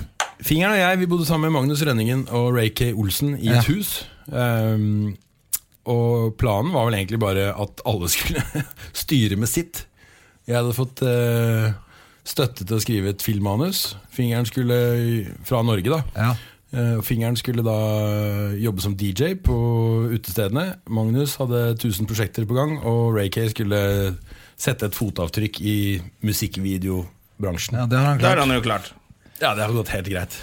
[SPEAKER 4] Fingeren og jeg vi bodde sammen med Magnus Rønningen og Ray K. Olsen i et
[SPEAKER 2] Ja.
[SPEAKER 4] hus. Ehm, og planen var vel egentlig bare at alle skulle styre med sitt. Jeg hadde fått eh, støtte til å skrive et filmmanus. Fingeren skulle fra Norge, da.
[SPEAKER 2] Ja.
[SPEAKER 4] Eh, Fingeren skulle da jobbe som DJ på utestedene. Magnus hadde 1000 prosjekter på gang, og Ray K skulle sette et fotavtrykk i musikkvideobransjen.
[SPEAKER 2] ja, det har han
[SPEAKER 1] Det har
[SPEAKER 2] klart.
[SPEAKER 1] han jo klart.
[SPEAKER 4] Ja, det har gått helt greit.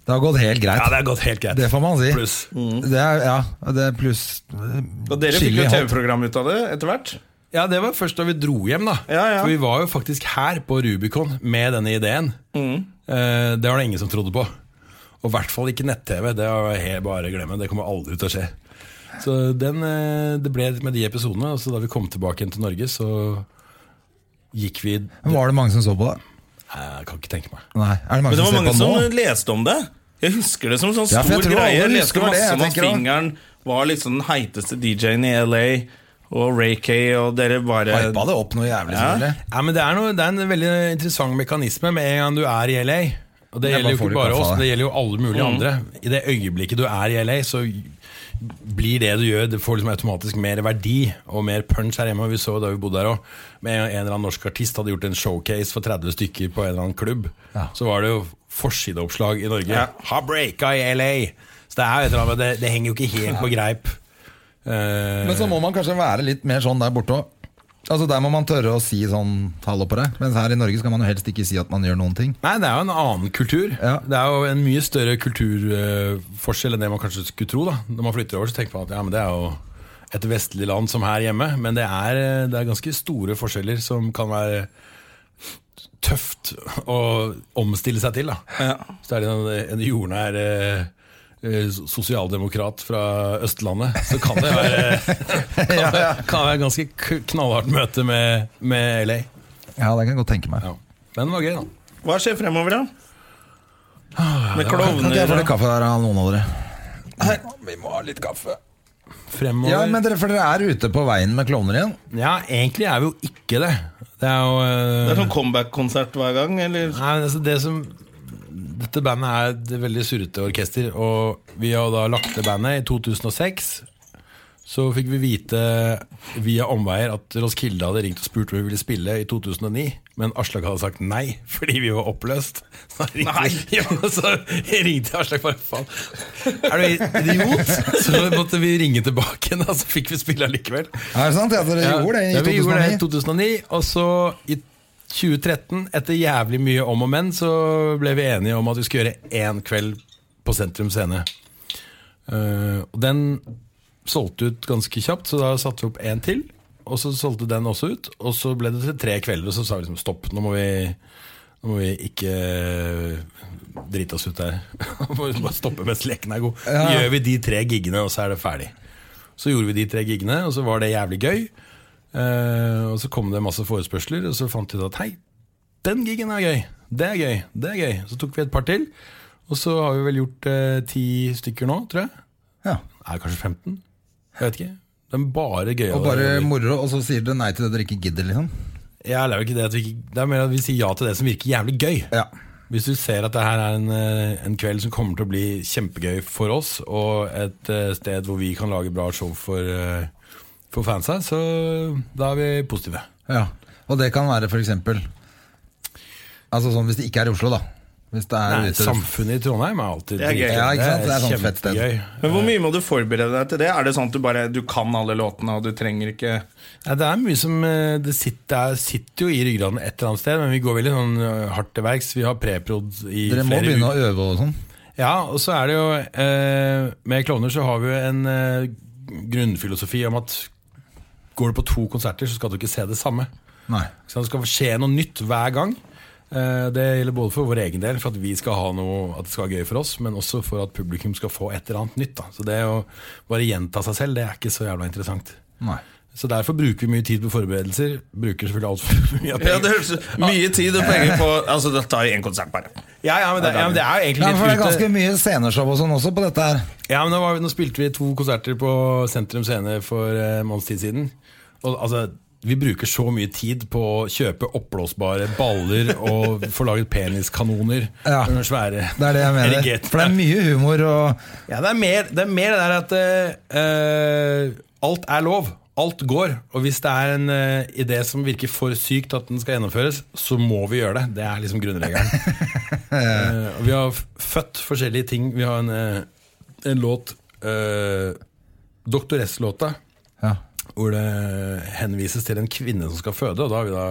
[SPEAKER 2] Det har gått helt greit.
[SPEAKER 4] Ja, det har gått helt greit.
[SPEAKER 2] Det får man si.
[SPEAKER 4] Pluss.
[SPEAKER 2] Det er, ja, det er pluss
[SPEAKER 1] Og dere fikk
[SPEAKER 2] Chili
[SPEAKER 1] jo
[SPEAKER 2] hot.
[SPEAKER 1] TV-program ut av det etter hvert.
[SPEAKER 4] Ja, det var først da vi dro hjem, da.
[SPEAKER 1] Ja, ja.
[SPEAKER 4] For vi var jo faktisk her på Rubicon med denne ideen.
[SPEAKER 1] Mm.
[SPEAKER 4] Eh, det var det ingen som trodde på. Og i hvert fall ikke nett-TV. Det var helt bare å glemme. Det kommer aldri til å skje. Så den, eh, det ble med de episodene. Og så da vi kom tilbake igjen til Norge, så gikk vi
[SPEAKER 2] Men Var det mange som så på det?
[SPEAKER 4] Nei, Jeg kan ikke tenke meg.
[SPEAKER 2] Nei. Er det
[SPEAKER 1] Men
[SPEAKER 2] mange
[SPEAKER 1] det
[SPEAKER 2] som
[SPEAKER 1] var
[SPEAKER 2] ser
[SPEAKER 1] mange
[SPEAKER 2] på
[SPEAKER 1] som
[SPEAKER 2] nå?
[SPEAKER 1] leste om det. Jeg husker det som en sånn
[SPEAKER 2] Ja, for
[SPEAKER 1] stor
[SPEAKER 2] jeg tror alle
[SPEAKER 1] greie. Jeg leste
[SPEAKER 2] husker det,
[SPEAKER 1] masse
[SPEAKER 2] jeg
[SPEAKER 1] om at
[SPEAKER 2] tenker også.
[SPEAKER 1] Fingeren var liksom den heiteste DJ-en i LA, og Ray K, og dere bare
[SPEAKER 2] Hypa det opp noe jævlig,
[SPEAKER 1] eh, Ja.
[SPEAKER 2] selvfølgelig.
[SPEAKER 4] Ja, men det er, noe, det er en veldig interessant mekanisme med en gang du er i LA. Og det
[SPEAKER 2] Ja,
[SPEAKER 4] gjelder jo
[SPEAKER 2] bare får du
[SPEAKER 4] ikke
[SPEAKER 2] kaffe
[SPEAKER 4] bare
[SPEAKER 2] av
[SPEAKER 4] oss,
[SPEAKER 2] det. Mm.
[SPEAKER 4] det gjelder jo alle mulige andre. I det øyeblikket du er i LA, så blir det du gjør, det får liksom automatisk mer verdi og mer punch her hjemme. Vi så jo da vi bodde her òg, med en eller annen norsk artist hadde gjort en showcase for 30 stykker på en eller annen klubb.
[SPEAKER 2] Ja.
[SPEAKER 4] Så var det jo forsideoppslag i Norge.
[SPEAKER 1] Ja.
[SPEAKER 4] Har breaka i LA! Så det er jo et eller annet, men det, det henger jo ikke helt på greip. Eh,
[SPEAKER 2] Men så må man kanskje være litt mer sånn der borte òg. Altså Der må man tørre å si sånn hallo på deg. Mens her i Norge skal man jo helst ikke si at man gjør noen ting.
[SPEAKER 4] Nei, det er jo en annen kultur.
[SPEAKER 2] Ja.
[SPEAKER 4] Det er jo en mye større kulturforskjell enn det man kanskje skulle tro. da Når man flytter over, så tenker man at ja, men det er jo et vestlig land som her hjemme. Men det er, eh, det er ganske store forskjeller som kan være tøft å omstille seg til. da
[SPEAKER 1] Ja.
[SPEAKER 4] Så er det en, en jordnær eh, eh, sosialdemokrat fra Østlandet. Så kan det være, kan det, kan være ganske k- knallhardt møte med, med LA.
[SPEAKER 2] Ja, det kan jeg godt tenke meg.
[SPEAKER 4] Ja. Men det var gøy, da.
[SPEAKER 1] Hva skjer fremover, da?
[SPEAKER 2] Ah,
[SPEAKER 1] Med
[SPEAKER 2] Kan ikke jeg få
[SPEAKER 1] klovner
[SPEAKER 2] litt kaffe der av noen av dere?
[SPEAKER 4] Vi må ha litt kaffe. Fremover.
[SPEAKER 2] Ja, men dere, For dere er ute på veien med klovner igjen?
[SPEAKER 4] Ja, egentlig er vi jo ikke det. Det er jo eh,
[SPEAKER 1] Det er sånn comeback-konsert hver gang, eller?
[SPEAKER 4] Nei, men altså det som Dette bandet er et veldig surrete orkester, og vi har da lagt ned bandet i 2006. Så fikk vi vite via omveier at Roskilde hadde ringt og spurt om vi ville spille i 2009. Men Aslak hadde sagt nei, fordi vi var oppløst. Så da ringte, vi- Jo, så ringte Aslak bare faen. Er du idiot? Så måtte vi ringe tilbake, og så fikk vi spille allikevel.
[SPEAKER 2] Er det sant? Ja, dere
[SPEAKER 4] Ja,
[SPEAKER 2] gjorde det i
[SPEAKER 4] ja, vi gjorde det i
[SPEAKER 2] 2009?
[SPEAKER 4] 2009. Og så i 2013, etter jævlig mye om og men, så ble vi enige om at vi skulle gjøre én kveld på Sentrum Scene. Eh, og den solgte ut ganske kjapt, så da satte vi opp én til. Og så solgte den også ut, og så ble det til tre kvelder. Og så sa vi liksom stopp, nå må vi, nå må vi ikke eh, drite oss ut her. Nå må vi bare stoppe mens leken er god.
[SPEAKER 2] Ja.
[SPEAKER 4] Gjør vi de tre giggene, og så er det ferdig. Så gjorde vi de tre giggene, og så var det jævlig gøy. Eh, og så kom det masse forespørsler, og så fant vi ut at hei, den giggen er gøy. Det er gøy. det er gøy Så tok vi et par til, og så har vi vel gjort eh, ti stykker nå, tror jeg.
[SPEAKER 2] Ja.
[SPEAKER 4] Er kanskje 15? Jeg vet ikke. Det er bare gøy.
[SPEAKER 2] Og bare moro, og så sier dere nei til det dere ikke gidder, liksom?
[SPEAKER 4] Ja, det, er jo ikke det, at vi, ikke- det er mer at vi sier ja til det som virker jævlig gøy.
[SPEAKER 2] Ja.
[SPEAKER 4] Hvis du ser at det her er en, eh, en kveld som kommer til å bli kjempegøy for oss, og et eh, sted hvor vi kan lage bra show for, eh, for fansa, så da er vi positive.
[SPEAKER 2] ja. Og det kan være for eksempel Altså sånn hvis det ikke er i Oslo, da. Hvis det er
[SPEAKER 4] Nei,
[SPEAKER 2] ute
[SPEAKER 4] samfunnet i Trondheim er alltid
[SPEAKER 1] Det er gøy.
[SPEAKER 4] dritgøy.
[SPEAKER 2] Ja, ikke sant? Det er sånn fett sted.
[SPEAKER 4] kjempegøy.
[SPEAKER 1] Men Hvor mye må du forberede deg til det? Er det sånn at du bare du kan alle låtene, og du trenger ikke
[SPEAKER 4] Ja, det er mye som eh, Det sitter, det sitter jo i ryggraden et eller annet sted, men vi går veldig sånn eh, hardt til verks. Vi har preprod i
[SPEAKER 2] Dere må
[SPEAKER 4] flere
[SPEAKER 2] begynne
[SPEAKER 4] uker.
[SPEAKER 2] å øve og sånn.
[SPEAKER 4] Ja, og så er det jo eh, Med Klovner så har vi jo en eh, grunnfilosofi om at går du på to konserter, så skal du ikke se det samme.
[SPEAKER 2] Nei.
[SPEAKER 4] Så det skal skje noe nytt hver gang. Eh, Det gjelder både for vår egen del, for at vi skal ha noe At det skal være gøy for oss, men også for at publikum skal få et eller annet nytt. Da. Så det å bare gjenta seg selv, det er ikke så jævla interessant.
[SPEAKER 2] Nei.
[SPEAKER 4] Så derfor bruker vi mye tid på forberedelser. Bruker selvfølgelig altfor mye av
[SPEAKER 1] Ja, det
[SPEAKER 4] penger.
[SPEAKER 1] høres mye tid og penger på Altså, det tar én konsert, bare.
[SPEAKER 4] Ja, ja, men det, ja, men det er jo egentlig
[SPEAKER 2] Ja, for det er
[SPEAKER 4] litt
[SPEAKER 2] ganske
[SPEAKER 4] ute.
[SPEAKER 2] mye sceneshow og sånn også på dette her.
[SPEAKER 4] Ja, men nå, var, vi- nå spilte vi to konserter på Sentrum Scene for eh, en måneds tid siden. Og altså, vi bruker så mye tid på å kjøpe oppblåsbare baller og få laget peniskanoner.
[SPEAKER 2] Ja.
[SPEAKER 4] Under svære
[SPEAKER 2] Det er det jeg mener. For det er mye humor og
[SPEAKER 4] Ja, det er mer det, er mer det der at eh, eh, alt er lov. Alt går. Og hvis det er en eh, idé som virker for sykt at den skal gjennomføres, så må vi gjøre det. Det er liksom grunnregelen. Eh, og vi har f- født forskjellige ting. Vi har en, eh, en låt, uh, Doktoresslåta,
[SPEAKER 2] ja.
[SPEAKER 4] hvor det henvises til en kvinne som skal føde. Og da har vi da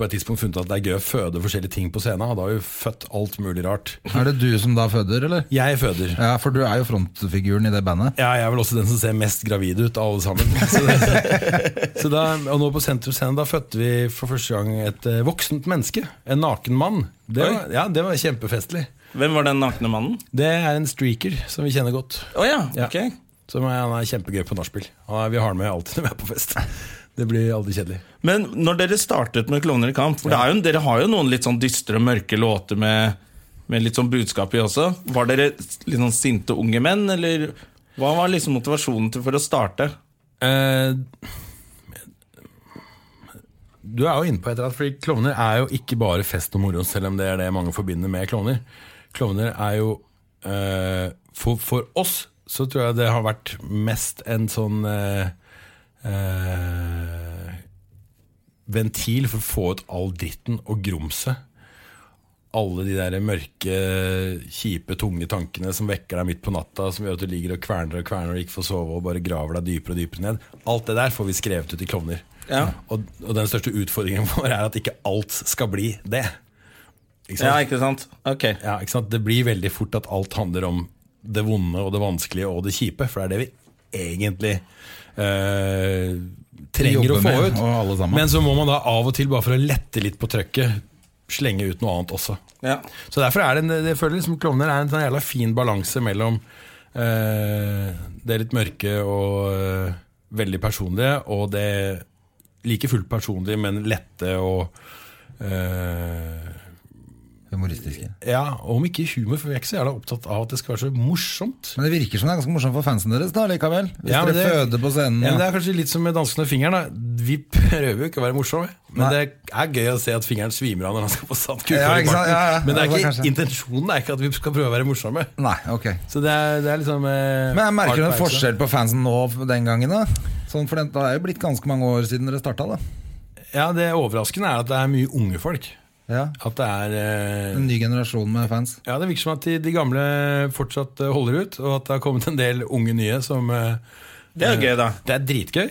[SPEAKER 4] på et tidspunkt funnet at det er gøy å føde forskjellige ting på scenen. Og da har vi født alt mulig rart.
[SPEAKER 2] Er det du som da føder, eller?
[SPEAKER 4] Jeg føder.
[SPEAKER 2] Ja, for du er jo frontfiguren i det bandet.
[SPEAKER 4] Ja, jeg er vel også den som ser mest gravid ut av alle sammen. Så, så da, og nå på Sentrum Scene, da fødte vi for første gang et eh, voksent menneske. En naken mann. Det
[SPEAKER 1] Oi.
[SPEAKER 4] var, ja, det var kjempefestlig.
[SPEAKER 1] Hvem var den nakne mannen?
[SPEAKER 4] Det er en streaker som vi kjenner godt.
[SPEAKER 1] Å ja,
[SPEAKER 4] Ja.
[SPEAKER 1] ok.
[SPEAKER 4] Som er, han er kjempegøy på nachspiel. Han er- Vi har han med alltid når vi er på fest. Det blir aldri kjedelig.
[SPEAKER 1] Men når dere startet med Klovner i kamp For det er jo, Dere har jo noen litt sånn dystre, mørke låter med, med litt sånn budskap i også. Var dere litt sånn sinte unge menn, eller hva var liksom motivasjonen til for å starte?
[SPEAKER 4] Eh, du er jo inne på et eller annet, fordi klovner er jo ikke bare fest og moro, selv om det er det mange forbinder med klovner. Klovner er jo eh, for, for oss så tror jeg det har vært mest en sånn eh, eh, ventil for å få ut all dritten og grumset. Alle de der mørke, kjipe, tunge tankene som vekker deg midt på natta, som gjør at du ligger og kverner og kverner og ikke får sove og bare graver deg dypere og dypere ned. Alt det der får vi skrevet ut i Klovner.
[SPEAKER 1] Ja,
[SPEAKER 4] Og, og den største utfordringen vår er at ikke alt skal bli det. Ikke
[SPEAKER 1] ja
[SPEAKER 4] sant?
[SPEAKER 1] ikke sant? Ok.
[SPEAKER 4] Ja, ikke sant? Det blir veldig fort at alt handler om det vonde og det vanskelige og det kjipe, for det er det vi egentlig eh, trenger
[SPEAKER 2] Jobber
[SPEAKER 4] å få
[SPEAKER 2] med,
[SPEAKER 4] ut.
[SPEAKER 2] og alle sammen.
[SPEAKER 4] Men så må man da av og til, bare for å lette litt på trøkket, slenge ut noe annet også.
[SPEAKER 1] Ja.
[SPEAKER 4] Så derfor er det en, jeg føler liksom Klovner er en sånn jævla fin balanse mellom eh, det litt mørke og eh, veldig personlige, og det like fullt personlige, men lette og eh,
[SPEAKER 2] Humoristiske.
[SPEAKER 4] Ja, og om ikke humor, for vi er ikke så jævla opptatt av at det skal være så morsomt.
[SPEAKER 2] Men det virker som det er ganske morsomt for fansen deres da, likevel. Hvis
[SPEAKER 4] Ja,
[SPEAKER 2] dere
[SPEAKER 4] men det-
[SPEAKER 2] føder på scenen.
[SPEAKER 4] Ja, men
[SPEAKER 2] og-
[SPEAKER 4] det er kanskje litt som med danskene og fingeren. Da. Vi prøver jo ikke å være morsomme, men
[SPEAKER 2] Nei.
[SPEAKER 4] det er gøy å se at fingeren svimer av når han skal på sandkuk.
[SPEAKER 2] Ja,
[SPEAKER 4] i
[SPEAKER 2] ikke sant?
[SPEAKER 4] barten.
[SPEAKER 2] Ja, ja.
[SPEAKER 4] Men det er
[SPEAKER 2] Ja, det
[SPEAKER 4] ikke,
[SPEAKER 2] var kanskje-
[SPEAKER 4] intensjonen er ikke at vi skal prøve å være morsomme.
[SPEAKER 2] Nei, ok.
[SPEAKER 4] Så det er, det er liksom eh,
[SPEAKER 2] Men jeg merker du en
[SPEAKER 4] hard pause.
[SPEAKER 2] forskjell på fansen nå f- den gangen, da? Sånn, for det, det er jo blitt ganske mange år siden dere starta, da.
[SPEAKER 4] Ja, Det overraskende er at det er mye unge folk.
[SPEAKER 2] Ja.
[SPEAKER 4] At det er eh,
[SPEAKER 2] En ny generasjon med fans.
[SPEAKER 4] Ja, Det virker som at de, de gamle fortsatt eh, holder ut, og at det har kommet en del unge nye som eh,
[SPEAKER 1] Det er jo gøy, da.
[SPEAKER 4] Det er dritgøy.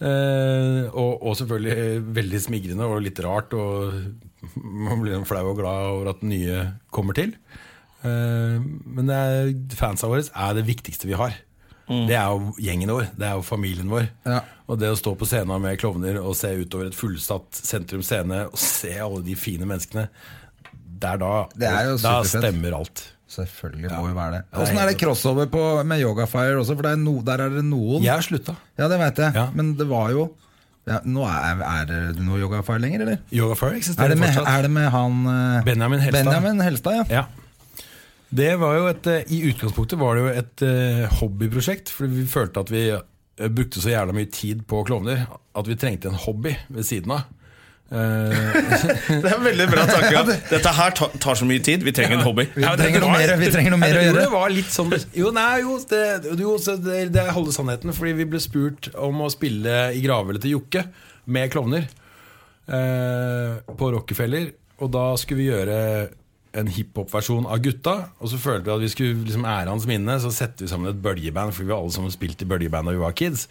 [SPEAKER 4] Eh, og, og selvfølgelig eh, veldig smigrende og litt rart. Og man blir sånn flau og glad over at nye kommer til. Eh, men det er, fansa våre er det viktigste vi har. Det er jo gjengen vår, det er jo familien vår.
[SPEAKER 2] Ja.
[SPEAKER 4] Og det å stå på scenen med klovner og se utover et fullsatt sentrum scene og se alle de fine menneskene, det er da,
[SPEAKER 2] Det er jo
[SPEAKER 4] da
[SPEAKER 2] superfett.
[SPEAKER 4] stemmer alt.
[SPEAKER 2] Selvfølgelig må jo være det. Åssen er det crossover på, med Yogafire også? For det er no, der er det noen.
[SPEAKER 4] Jeg har slutta.
[SPEAKER 2] Ja, det veit jeg.
[SPEAKER 4] Ja.
[SPEAKER 2] Men det var jo ja, nå Er, er det noe Yogafire lenger, eller?
[SPEAKER 4] Yoga Fire eksisterer
[SPEAKER 2] Er det, med,
[SPEAKER 4] fortsatt.
[SPEAKER 2] er det med han eh,
[SPEAKER 4] Benjamin Helstad.
[SPEAKER 2] Benjamin Helstad, ja.
[SPEAKER 4] Ja. Det var jo et, eh, I utgangspunktet var det jo et eh, hobbyprosjekt, fordi vi følte at vi eh, brukte så jævla mye tid på klovner at vi trengte en hobby ved siden av. Eh,
[SPEAKER 1] Det er veldig bra tanke. Dette her ta- tar så mye tid. Vi trenger en hobby.
[SPEAKER 2] Vi trenger noe mer, vi trenger noe mer å
[SPEAKER 4] Jeg tror
[SPEAKER 2] gjøre.
[SPEAKER 4] det var litt sånn Jo, nei, jo, det, jo så det, det holder sannheten. Fordi vi ble spurt om å spille i gravhvelvet til Jokke med klovner eh, på Rockefeller. Og da skulle vi gjøre en hiphop-versjon av Gutta. Og så følte vi at vi skulle liksom ære hans minne, så setter vi sammen et bølgeband. Fordi vi var alle sammen spilt i bølgeband da vi var kids.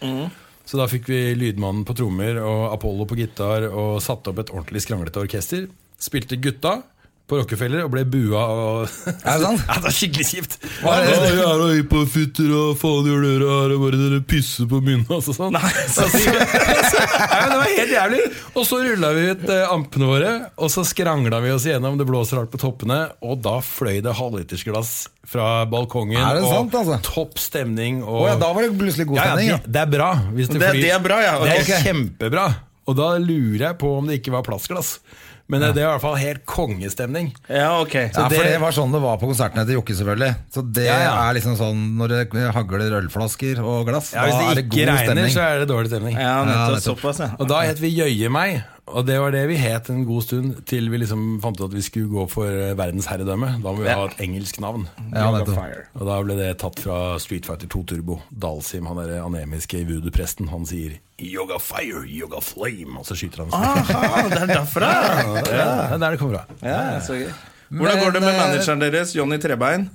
[SPEAKER 4] Så da fikk vi Lydmannen på trommer og Apollo på gitar og satte opp et ordentlig skranglete orkester. Spilte Gutta på Rockefeller og ble bua og
[SPEAKER 2] Er det sant?
[SPEAKER 4] ja, det er skikkelig kjipt.
[SPEAKER 2] Hva er det?
[SPEAKER 4] Ja, Jævla hiphopfitter og faen gjør dere her og bare dere pisser på munnen hans og sånn.
[SPEAKER 1] Nei,
[SPEAKER 4] Så sier vi- Nei, men det var helt jævlig. Og så rulla vi ut eh, ampene våre, og så skrangla vi oss igjennom det blåser hardt på toppene, og da fløy det halvlitersglass fra balkongen.
[SPEAKER 2] Er det
[SPEAKER 4] og
[SPEAKER 2] sant, altså?
[SPEAKER 4] Topp stemning. Og
[SPEAKER 2] Å ja, da var det plutselig god
[SPEAKER 4] ja,
[SPEAKER 2] stemning. Ja,
[SPEAKER 4] ja, det, det er bra. Hvis det,
[SPEAKER 1] Det-
[SPEAKER 4] flyr.
[SPEAKER 1] det er bra, ja, ok.
[SPEAKER 4] Det er kjempebra. Og da lurer jeg på om det ikke var plastglass. Men eh, det er i hvert fall helt kongestemning.
[SPEAKER 1] Ja, ok.
[SPEAKER 2] ja, for
[SPEAKER 4] det-
[SPEAKER 2] det var sånn det var på konsertene til Jokke, selvfølgelig. Så det
[SPEAKER 4] Ja, ja.
[SPEAKER 2] er liksom sånn når det hagler ølflasker og glass,
[SPEAKER 4] Ja, hvis
[SPEAKER 2] da er det
[SPEAKER 4] det ikke
[SPEAKER 2] god
[SPEAKER 4] regner,
[SPEAKER 2] stemning.
[SPEAKER 4] så er det dårlig stemning.
[SPEAKER 1] Ja, nettopp.
[SPEAKER 2] nettopp.
[SPEAKER 1] Såpass, ja.
[SPEAKER 4] Og da het vi Jøye meg, og det var det vi het en god stund til vi liksom fant ut at vi skulle gå for eh, verdensherredømme. Da må vi
[SPEAKER 1] Ja.
[SPEAKER 4] ha et engelsk navn.
[SPEAKER 2] Ja, nettopp.
[SPEAKER 4] Og da ble det tatt fra Street Fighter 2 Turbo. Dalsim, han derre anemiske voodoo-presten, han sier 'Yoga fire, yoga flame', og så skyter han. seg.
[SPEAKER 1] Aha, det er derfra.
[SPEAKER 4] Ja, det er der det kommer fra.
[SPEAKER 1] Ja, så gøy. Hvordan går det med manageren deres, Jonny Trebein?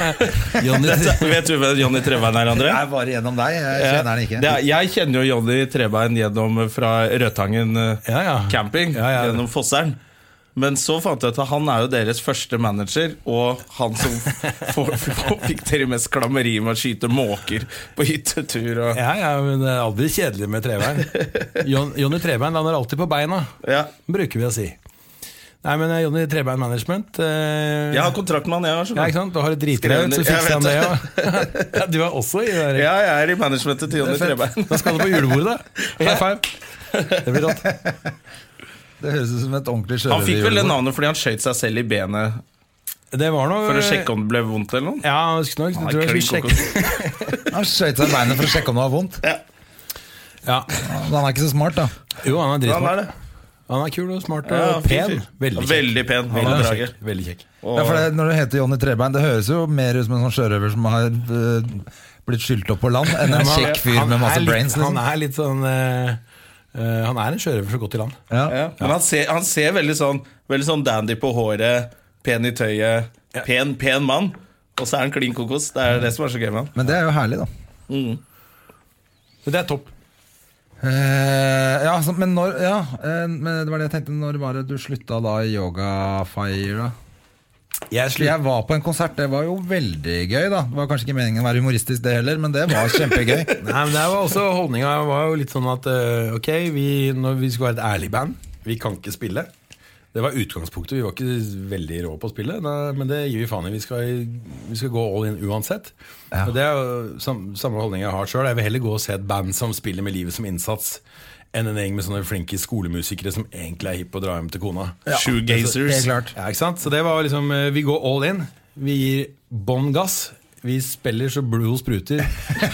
[SPEAKER 4] Eh, Johnny,
[SPEAKER 1] Vet du hvem Jonny Trebein er, André?
[SPEAKER 2] Jeg er bare gjennom deg, jeg kjenner den ikke.
[SPEAKER 1] Det er, jeg kjenner jo Jonny Trebein gjennom eh, fra Rødtangen eh,
[SPEAKER 4] Ja, ja.
[SPEAKER 1] camping.
[SPEAKER 4] Ja, ja.
[SPEAKER 1] Gjennom Fossern. Men så fant jeg ut at han er jo deres første manager, og han som får, får, fikk til det mest klammeri med å skyte måker på hyttetur. Og,
[SPEAKER 4] ja, ja, men det er aldri kjedelig med Trebein. Jon, Jonny Trebein lander alltid på beina,
[SPEAKER 1] ja.
[SPEAKER 4] bruker vi å si. Nei, men eh, Jonny Trebein Management eh,
[SPEAKER 1] Jeg har kontrakt med han, jeg òg.
[SPEAKER 4] Ja, ikke sant? Du har et dritbrev, så
[SPEAKER 1] Skrevne-
[SPEAKER 4] fikser
[SPEAKER 1] Jeg
[SPEAKER 4] han
[SPEAKER 1] vet
[SPEAKER 4] det òg. Ja. Du er også i det der.
[SPEAKER 1] Ja, jeg er i managementet til Jonny
[SPEAKER 4] Det er fett.
[SPEAKER 1] Trebein.
[SPEAKER 4] Da skal du på julebordet, da. High five. Det blir rått.
[SPEAKER 2] Det høres ut som et
[SPEAKER 1] Han
[SPEAKER 2] ordentlig
[SPEAKER 1] fikk vel det
[SPEAKER 2] sjørøverjulebord.
[SPEAKER 1] navnet fordi han skjøt seg selv i benet
[SPEAKER 4] Det var noe
[SPEAKER 1] for å sjekke om det ble vondt eller noe.
[SPEAKER 4] Ja, husk nok.
[SPEAKER 1] Han er
[SPEAKER 4] Jeg tror jeg
[SPEAKER 1] klin
[SPEAKER 4] skulle sjekke.
[SPEAKER 1] kokos.
[SPEAKER 2] Han skøyt seg i beinet for å sjekke om det var vondt.
[SPEAKER 4] Ja.
[SPEAKER 2] Men han er ikke så smart, da.
[SPEAKER 4] Jo, han er
[SPEAKER 1] Han er
[SPEAKER 4] dritsmart.
[SPEAKER 1] det.
[SPEAKER 4] Han er kul og smart og
[SPEAKER 1] Ja, fin
[SPEAKER 4] pen.
[SPEAKER 1] fyr.
[SPEAKER 4] Veldig kjekk.
[SPEAKER 1] Veldig pen.
[SPEAKER 4] Han
[SPEAKER 1] Veldig
[SPEAKER 4] er
[SPEAKER 1] drager.
[SPEAKER 4] kjekk. Veldig kjekk.
[SPEAKER 2] Ja, for det, Når du heter Jonny Trebein, det høres jo mer ut som en sånn sjørøver som har eh, blitt skylt opp på land, enn en
[SPEAKER 4] Han-
[SPEAKER 2] kjekk fyr
[SPEAKER 4] han
[SPEAKER 2] med masse
[SPEAKER 4] er litt-
[SPEAKER 2] brains. Liksom.
[SPEAKER 4] Han er litt sånn eh, eh, Han er en sjørøver så godt i land.
[SPEAKER 2] Ja.
[SPEAKER 1] Ja, men han ser, han ser veldig, sånn, veldig sånn dandy på håret, pen i tøyet, pen, pen mann. Og så er han klin kokos. Det er det som er så gøy med han.
[SPEAKER 2] Men det er jo herlig, da.
[SPEAKER 4] Men Det er topp.
[SPEAKER 2] Eh, ja, så, men når Ja, eh, men det var det jeg tenkte. Når var det du slutta da i Yogafire? da?
[SPEAKER 4] Jeg
[SPEAKER 2] For Jeg var på en konsert, det var jo veldig gøy, da. Det var kanskje ikke meningen å være humoristisk, det heller, men det var kjempegøy.
[SPEAKER 4] Nei, men det var også Holdninga var jo litt sånn at eh, ok, vi, når vi skal være et ærlig band Vi kan ikke spille. Det var utgangspunktet. Vi var ikke veldig rå på å spille, nei, men det gir vi faen i. Vi skal, vi skal gå all in uansett. Og Det er jo sam, samme holdning jeg har sjøl. Jeg vil heller gå og se et band som spiller med livet som innsats, enn en gjeng med sånne flinke skolemusikere som egentlig er hipp på å dra hjem til kona.
[SPEAKER 1] Shoegazers.
[SPEAKER 2] Helt klart.
[SPEAKER 4] Ja, ikke sant? Så det var liksom eh, Vi går all in. Vi gir bånn gass. Vi spiller så blodet spruter.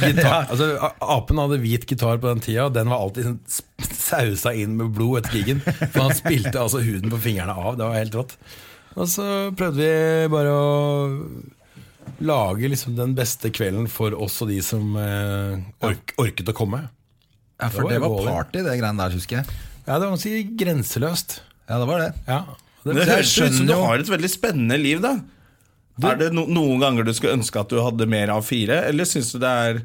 [SPEAKER 4] Gitar, altså, a- apen hadde hvit gitar på den tida, og den var alltid sånn sp- sausa inn med blod etter gigen. For han spilte altså huden på fingrene av. Det var helt rått. Og så prøvde vi bare å lage liksom den beste kvelden for oss og de som eh, ork, orket å komme.
[SPEAKER 2] Ja, for
[SPEAKER 4] Det
[SPEAKER 2] det
[SPEAKER 4] var
[SPEAKER 2] var
[SPEAKER 4] jo
[SPEAKER 2] party, det greiene der, husker jeg.
[SPEAKER 4] Ja, det var ganske grenseløst.
[SPEAKER 2] Ja, det var det.
[SPEAKER 4] Ja. Det,
[SPEAKER 1] Det
[SPEAKER 2] Jeg
[SPEAKER 1] høres ut som
[SPEAKER 2] skjønner
[SPEAKER 1] du
[SPEAKER 2] jo-
[SPEAKER 1] har et veldig spennende liv, da. er det no noen ganger du skulle ønske at du hadde mer av fire, eller syns du det er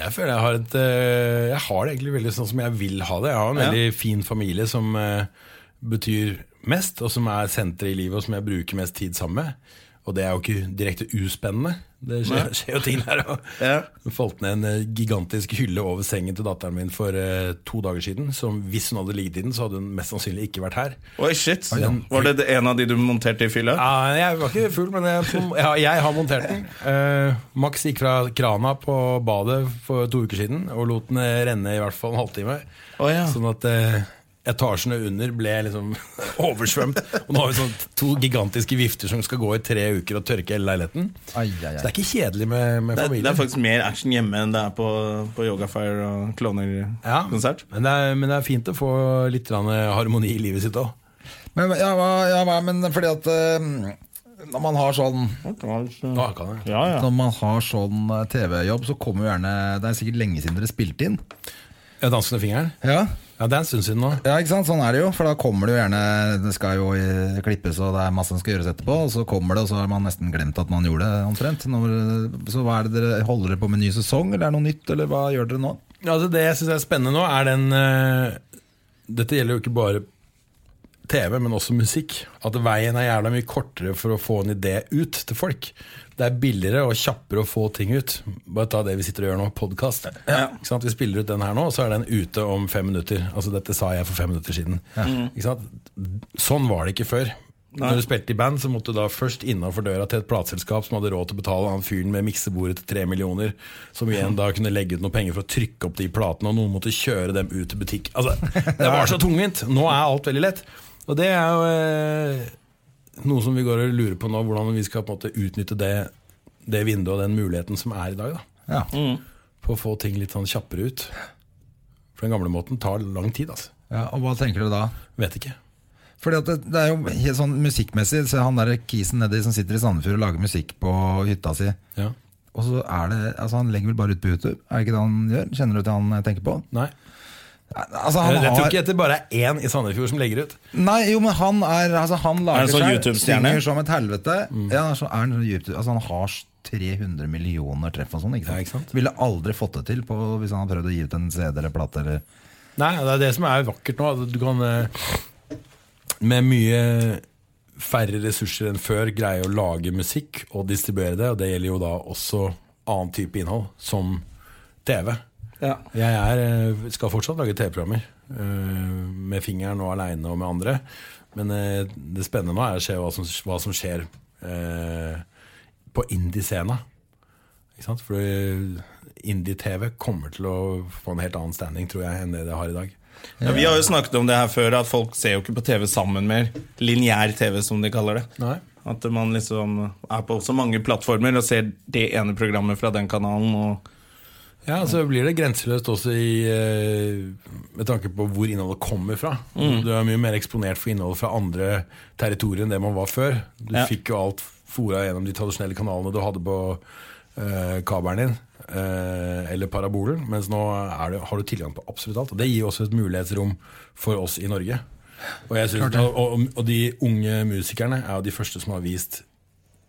[SPEAKER 4] Jeg føler jeg har et eh, Jeg har det egentlig veldig sånn som jeg vil ha det. Jeg har en
[SPEAKER 1] Ja.
[SPEAKER 4] veldig fin familie som eh, betyr mest, og som er senteret i livet, og som jeg bruker mest tid sammen med. Og det er jo ikke direkte uspennende. Det skjer, skjer jo ting der òg.
[SPEAKER 1] Ja.
[SPEAKER 4] Det falt ned en eh, gigantisk hylle over sengen til datteren min for eh, to dager siden. Som hvis hun hadde ligget i den, så hadde hun mest sannsynlig ikke vært her.
[SPEAKER 1] Oi, shit. Var det det en av de du monterte i fylla?
[SPEAKER 4] Ja, jeg var ikke full, men jeg, jeg, jeg har montert den. Eh, Max gikk fra krana på badet for to uker siden og lot den eh, renne i hvert fall en halvtime.
[SPEAKER 1] Å, ja.
[SPEAKER 4] Sånn at eh, etasjene under ble liksom oversvømt. Og nå har vi sånn to gigantiske vifter som skal gå i tre uker og tørke hele leiligheten.
[SPEAKER 2] Ai, ai,
[SPEAKER 4] Så det
[SPEAKER 2] ai.
[SPEAKER 4] er ikke kjedelig med, med
[SPEAKER 1] Det er,
[SPEAKER 4] familie.
[SPEAKER 1] det er faktisk mer action hjemme enn det er på, på Yogafire og
[SPEAKER 4] ja,
[SPEAKER 1] Kloner-konsert.
[SPEAKER 4] men, det er, men det er fint å få litt grann, eh, harmoni i livet sitt òg.
[SPEAKER 2] Men, ja, hva- ja, hva- men fordi at eh, når man har sånn
[SPEAKER 1] Ja.
[SPEAKER 4] Ja, kan jeg.
[SPEAKER 1] Ja,
[SPEAKER 2] Når man har sånn eh, TV-jobb, så kommer jo gjerne Det er sikkert lenge siden dere spilte inn.
[SPEAKER 4] Jeg danser med fingeren.
[SPEAKER 2] Ja,
[SPEAKER 4] Ja, det er en stund siden nå.
[SPEAKER 2] ja, ikke sant? Sånn er det jo. For da kommer det jo gjerne Det skal jo eh, klippes, og det er masse som skal gjøres etterpå. Og så kommer det, og så har man nesten glemt at man gjorde det, omtrent. Når, så hva er det dere holder dere på med ny sesong, eller er det noe nytt, eller hva gjør dere nå?
[SPEAKER 4] Ja, altså det jeg syns er spennende nå, er den eh, Dette gjelder jo ikke bare TV, men også musikk. At veien er jævla mye kortere for å få en idé ut til folk. Det er billigere og kjappere å få ting ut. Bare ta det vi sitter og gjør nå, podkast. Ikke sant? Vi spiller ut den her nå, og så er den ute om fem minutter. Altså dette sa jeg for fem minutter siden. Ikke sant? Sånn var det ikke før. Når du spilte i band, så måtte du da først innafor døra til et plateselskap som hadde råd til å betale han fyren med miksebordet til tre millioner, som igjen da kunne legge ut noen penger for å trykke opp de platene, og noen måtte kjøre dem ut til butikk. Altså, det var så tungvint! Nå er alt veldig lett. Og det er jo eh, noe som vi går og lurer på nå, hvordan vi skal på en måte utnytte det, det vinduet og den muligheten som er i dag, da,
[SPEAKER 2] Ja.
[SPEAKER 1] Mm.
[SPEAKER 4] på å få ting litt sånn kjappere ut. For den gamle måten tar lang tid, altså.
[SPEAKER 2] ja, Og hva tenker dere da?
[SPEAKER 4] Vet ikke.
[SPEAKER 2] Fordi at det, det er jo helt sånn musikkmessig så Han der kisen nedi som sitter i Sandefjord og lager musikk på hytta si.
[SPEAKER 4] Ja.
[SPEAKER 2] Og så er det, altså Han legger vel bare ut på YouTube? Er det ikke det han gjør? Kjenner du til han jeg tenker på?
[SPEAKER 4] Nei. Eh,
[SPEAKER 2] Altså, han
[SPEAKER 4] Jeg, jeg tror
[SPEAKER 2] har-
[SPEAKER 4] ikke det bare er én i Sandefjord som legger ut.
[SPEAKER 2] Nei, jo, men han er altså, Han
[SPEAKER 1] Er
[SPEAKER 2] lager
[SPEAKER 1] han sånn
[SPEAKER 2] seg
[SPEAKER 1] YouTube-stjerne?
[SPEAKER 2] Synger som et helvete Ja, så er han sånn YouTube Altså han har s- 300 millioner treff og sånn ikke sant?
[SPEAKER 4] Ja, ikke sant?
[SPEAKER 2] Ville aldri fått det til på, Hvis han hadde prøvd å gi ut en CD eller plate eller
[SPEAKER 4] Nei, det er det som er vakkert nå. at Du kan eh, med mye færre ressurser enn før greie å lage musikk og distribuere det. Og det gjelder jo da også annen type innhold, som TV.
[SPEAKER 1] Ja.
[SPEAKER 4] Jeg er, eh, skal fortsatt lage TV-programmer. eh, Med fingeren og aleine og med andre. Men eh, det spennende nå er å se hva som, hva som skjer eh, på indie-scena. Ikke sant? For eh, indie-TV kommer til å få en helt annen standing, tror jeg, enn det det har i dag.
[SPEAKER 1] Ja, vi har jo snakket om det her før, at folk ser jo ikke på TV sammen mer. Lineær TV, som de kaller det.
[SPEAKER 4] Nei.
[SPEAKER 1] At man liksom er på så mange plattformer og ser det ene programmet fra den kanalen. Og
[SPEAKER 4] Ja, så blir det grenseløst også i, eh, med tanke på hvor innholdet kommer fra. Du er mye mer eksponert for innholdet fra andre territorier enn det man var før. Du
[SPEAKER 1] Ja.
[SPEAKER 4] fikk jo alt fora gjennom de tradisjonelle kanalene du hadde på eh, kabelen din, eh, eller parabolen, mens nå er det, har du tilgang på absolutt alt. Og det gir også et mulighetsrom for oss i Norge. Og, jeg synes, og, og, og de unge musikerne er jo de første som har vist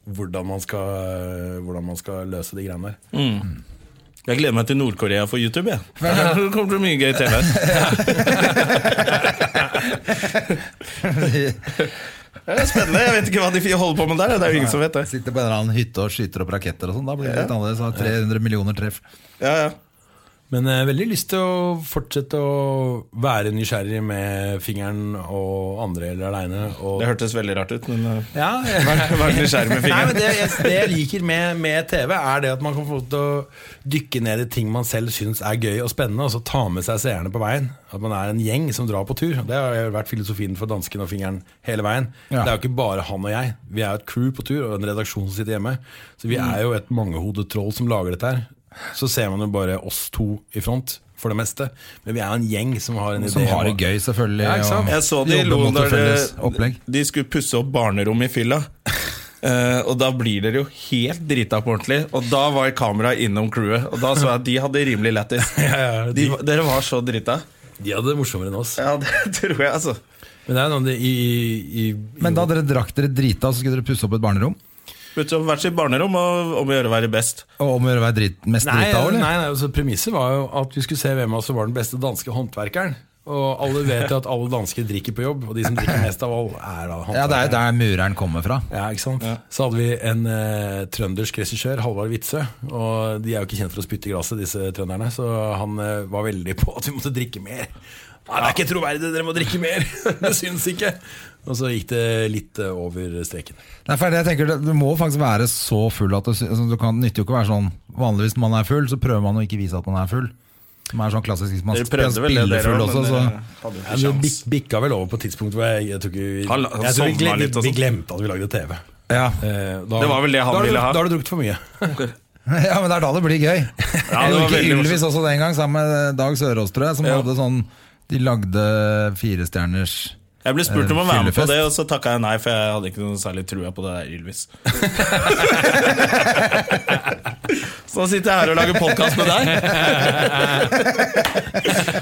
[SPEAKER 4] hvordan man skal, hvordan man skal løse de greiene der.
[SPEAKER 1] Mm. jeg gleder meg til Nord-Korea for YouTube. jeg. Der kommer det mye gøy TV. Det er spennende. Jeg vet ikke hva de holder på med der. Det er jo ingen som vet det.
[SPEAKER 2] Sitter på en eller annen hytte og skyter opp raketter og sånn Da blir det litt annerledes Han har 300 millioner treff
[SPEAKER 1] Ja, ja.
[SPEAKER 4] Men eh, veldig lyst til å fortsette å være nysgjerrig med fingeren og andre eller aleine. Og...
[SPEAKER 1] Det hørtes veldig rart ut, men eh,
[SPEAKER 4] Ja,
[SPEAKER 1] vær vær nysgjerrig med
[SPEAKER 4] Nei, men
[SPEAKER 1] fingeren.
[SPEAKER 4] det, jeg, det jeg liker med, med TV, er det at man kan få lov til å dykke ned i ting man selv syns er gøy og spennende, og så ta med seg seerne på veien. At man er en gjeng som drar på tur. Det har jo vært filosofien for dansken og fingeren hele veien.
[SPEAKER 2] Ja.
[SPEAKER 4] Det er jo ikke bare han og jeg. Vi er jo et crew på tur, og en redaksjon som sitter hjemme. Så vi er jo et mangehodet troll som lager dette her. Så ser man jo bare oss to i front, for det meste. Men vi er jo en gjeng som har en idé.
[SPEAKER 2] Som har
[SPEAKER 4] om-
[SPEAKER 2] det gøy, selvfølgelig.
[SPEAKER 4] Ja, ikke sant?
[SPEAKER 2] og
[SPEAKER 1] Jeg så de
[SPEAKER 2] jobber
[SPEAKER 1] lo
[SPEAKER 2] mot et
[SPEAKER 1] der
[SPEAKER 2] felles
[SPEAKER 1] det,
[SPEAKER 2] opplegg.
[SPEAKER 1] de skulle pusse opp barnerom i fylla. Eh, og da blir dere jo helt drita på ordentlig. Og da var kameraet innom crewet, og da så jeg at de hadde rimelig lættis.
[SPEAKER 4] Ja, ja,
[SPEAKER 1] De,
[SPEAKER 4] de,
[SPEAKER 1] dere var så drita.
[SPEAKER 4] de hadde det morsommere enn oss.
[SPEAKER 1] Ja, det tror jeg, altså.
[SPEAKER 4] Men det er noe med det i, i, i
[SPEAKER 2] Men da dere drakk dere drita, så skulle dere pusse opp et barnerom?
[SPEAKER 1] Putte opp hvert sitt barnerom og om å gjøre å være best.
[SPEAKER 2] Og om å gjøre å være drit, mest
[SPEAKER 4] Nei,
[SPEAKER 2] drita, eller?
[SPEAKER 4] nei, nei altså, premisset var jo at vi skulle se hvem av oss som var den beste danske håndverkeren. Og alle vet jo at alle dansker drikker på jobb, og de som drikker mest av all,
[SPEAKER 2] Ja,
[SPEAKER 4] er da
[SPEAKER 2] det er jo
[SPEAKER 4] håndverkere.
[SPEAKER 2] der mureren kommer fra.
[SPEAKER 4] Ja, ikke sant? Så hadde vi en eh, trøndersk regissør, Halvard Witzøe. Og de er jo ikke kjent for å spytte i glasset, disse trønderne. Så han eh, var veldig på at vi måtte drikke mer. Nei, det er ikke troverdig, dere må drikke mer! det syns ikke! Og så gikk det litt eh, over streken.
[SPEAKER 2] Nei, for jeg tenker, Du må faktisk være så full at du, sy- altså, du kan, nytter jo ikke å være sånn Vanligvis når man er full, så prøver man å ikke vise at man er full. Som er sånn klassisk hvis man
[SPEAKER 1] Dere
[SPEAKER 2] sp-
[SPEAKER 1] prøvde vel det,
[SPEAKER 2] spiller
[SPEAKER 1] dere òg,
[SPEAKER 2] full også. Så.
[SPEAKER 1] hadde jo ikke
[SPEAKER 4] Ja, men
[SPEAKER 1] sjans.
[SPEAKER 4] vi bik- bikka vel over på et tidspunkt hvor jeg, jeg tror ikke vi,
[SPEAKER 1] Han- han
[SPEAKER 4] jeg tror vi,
[SPEAKER 1] sovna
[SPEAKER 4] glem,
[SPEAKER 1] litt og
[SPEAKER 4] vi
[SPEAKER 1] sånn.
[SPEAKER 4] glemte at vi lagde TV.
[SPEAKER 2] Ja.
[SPEAKER 4] Eh, da-
[SPEAKER 1] Det var vel det han
[SPEAKER 4] da har du-
[SPEAKER 1] ville ha.
[SPEAKER 4] Da har du drukket for mye.
[SPEAKER 2] ja, men det er da det blir gøy.
[SPEAKER 1] Ja, det
[SPEAKER 2] jeg
[SPEAKER 1] var
[SPEAKER 2] husker
[SPEAKER 1] veldig morsomt.
[SPEAKER 2] Ylvis også den gang, sammen med eh, Dag Sørås, tror jeg, som
[SPEAKER 1] Ja.
[SPEAKER 2] hadde sånn De lagde firestjerners
[SPEAKER 1] Jeg ble spurt om å være med på
[SPEAKER 2] Fyllefest.
[SPEAKER 1] det, og så takka jeg nei, for jeg hadde ikke noe særlig trua på det der Ylvis. så sitter jeg her og lager podkast med deg.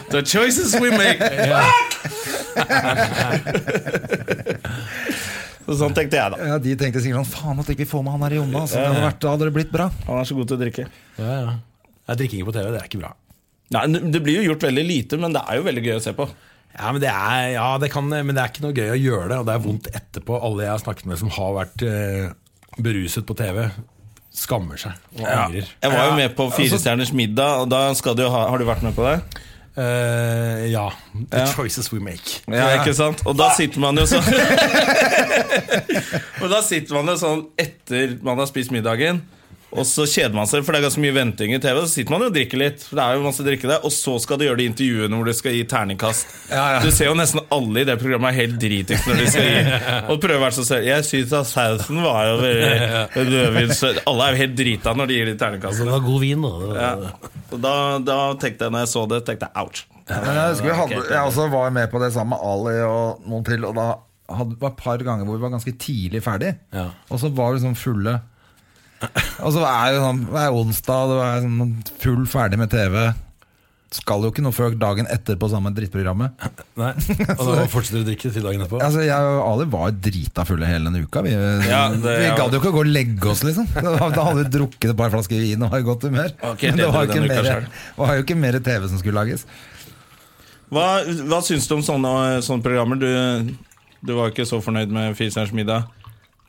[SPEAKER 1] The choices we make. Så sånn tenkte jeg, da.
[SPEAKER 2] Ja, De tenkte sikkert sånn Faen at ikke vi får med han her Jonna. Altså, det hadde vært, da hadde det blitt bra.
[SPEAKER 1] Han er så god til å drikke.
[SPEAKER 4] Ja, ja. Nei, Drikking på TV, det er ikke bra.
[SPEAKER 1] Nei, Det blir jo gjort veldig lite, men det er jo veldig gøy å se på.
[SPEAKER 4] Ja, men det, er, ja det kan, men det er ikke noe gøy å gjøre det, og det er vondt etterpå. Alle jeg har snakket med som har vært eh, beruset på TV, skammer seg og angrer.
[SPEAKER 1] Jeg var jo med på Firestjerners middag, og da skal du ha, har du vært med på det?
[SPEAKER 4] Eh, ja. The
[SPEAKER 1] Ja.
[SPEAKER 4] choices we make.
[SPEAKER 1] Ja, ikke sant? Og da sitter man jo sånn Og da sitter man jo sånn etter man har spist middagen, og så kjeder man seg, for det er ganske mye venting i TV. Så sitter man jo og drikker litt, for det er jo masse drikke der. Og så skal du gjøre de intervjuene hvor du skal gi terningkast.
[SPEAKER 2] Ja, ja.
[SPEAKER 1] Du ser jo nesten alle i det programmet er helt dritings når de skal gi. Og prøver å være så selv. Jeg syns at sausen var jo veldig rødvinsøt. Alle er jo helt drita når de gir de terningkastene.
[SPEAKER 4] var god vin, da.
[SPEAKER 1] Ja. Og da, da tenkte jeg, når jeg så det, tenkte jeg ouch.
[SPEAKER 2] Men jeg husker vi hadde, jeg også var med på det sammen med Ali og noen til, og da hadde, var et par ganger hvor vi var ganske tidlig ferdig.
[SPEAKER 4] Ja.
[SPEAKER 2] Og så var vi sånn fulle. Og så er det sånn, det er onsdag, det er sånn full ferdig med TV. Skal jo ikke noe før dagen etter på samme drittprogrammet.
[SPEAKER 4] Nei. Og da fortsetter du å drikke til dagen etterpå?
[SPEAKER 2] Altså, jeg og Ali var drita fulle hele denne uka. Vi,
[SPEAKER 1] Ja, det-
[SPEAKER 2] vi gadd jo ikke å gå og legge oss, liksom. Da da hadde vi drukket et par flasker vin og var i godt humør.
[SPEAKER 1] Ok,
[SPEAKER 2] Men
[SPEAKER 1] det
[SPEAKER 2] det var jo
[SPEAKER 1] denne
[SPEAKER 2] ikke,
[SPEAKER 1] uka
[SPEAKER 2] mer,
[SPEAKER 1] selv.
[SPEAKER 2] var jo ikke mer TV som skulle lages.
[SPEAKER 1] Hva, hva syns du om sånne, sånne programmer? Du, du var jo ikke så fornøyd med Fiserens middag.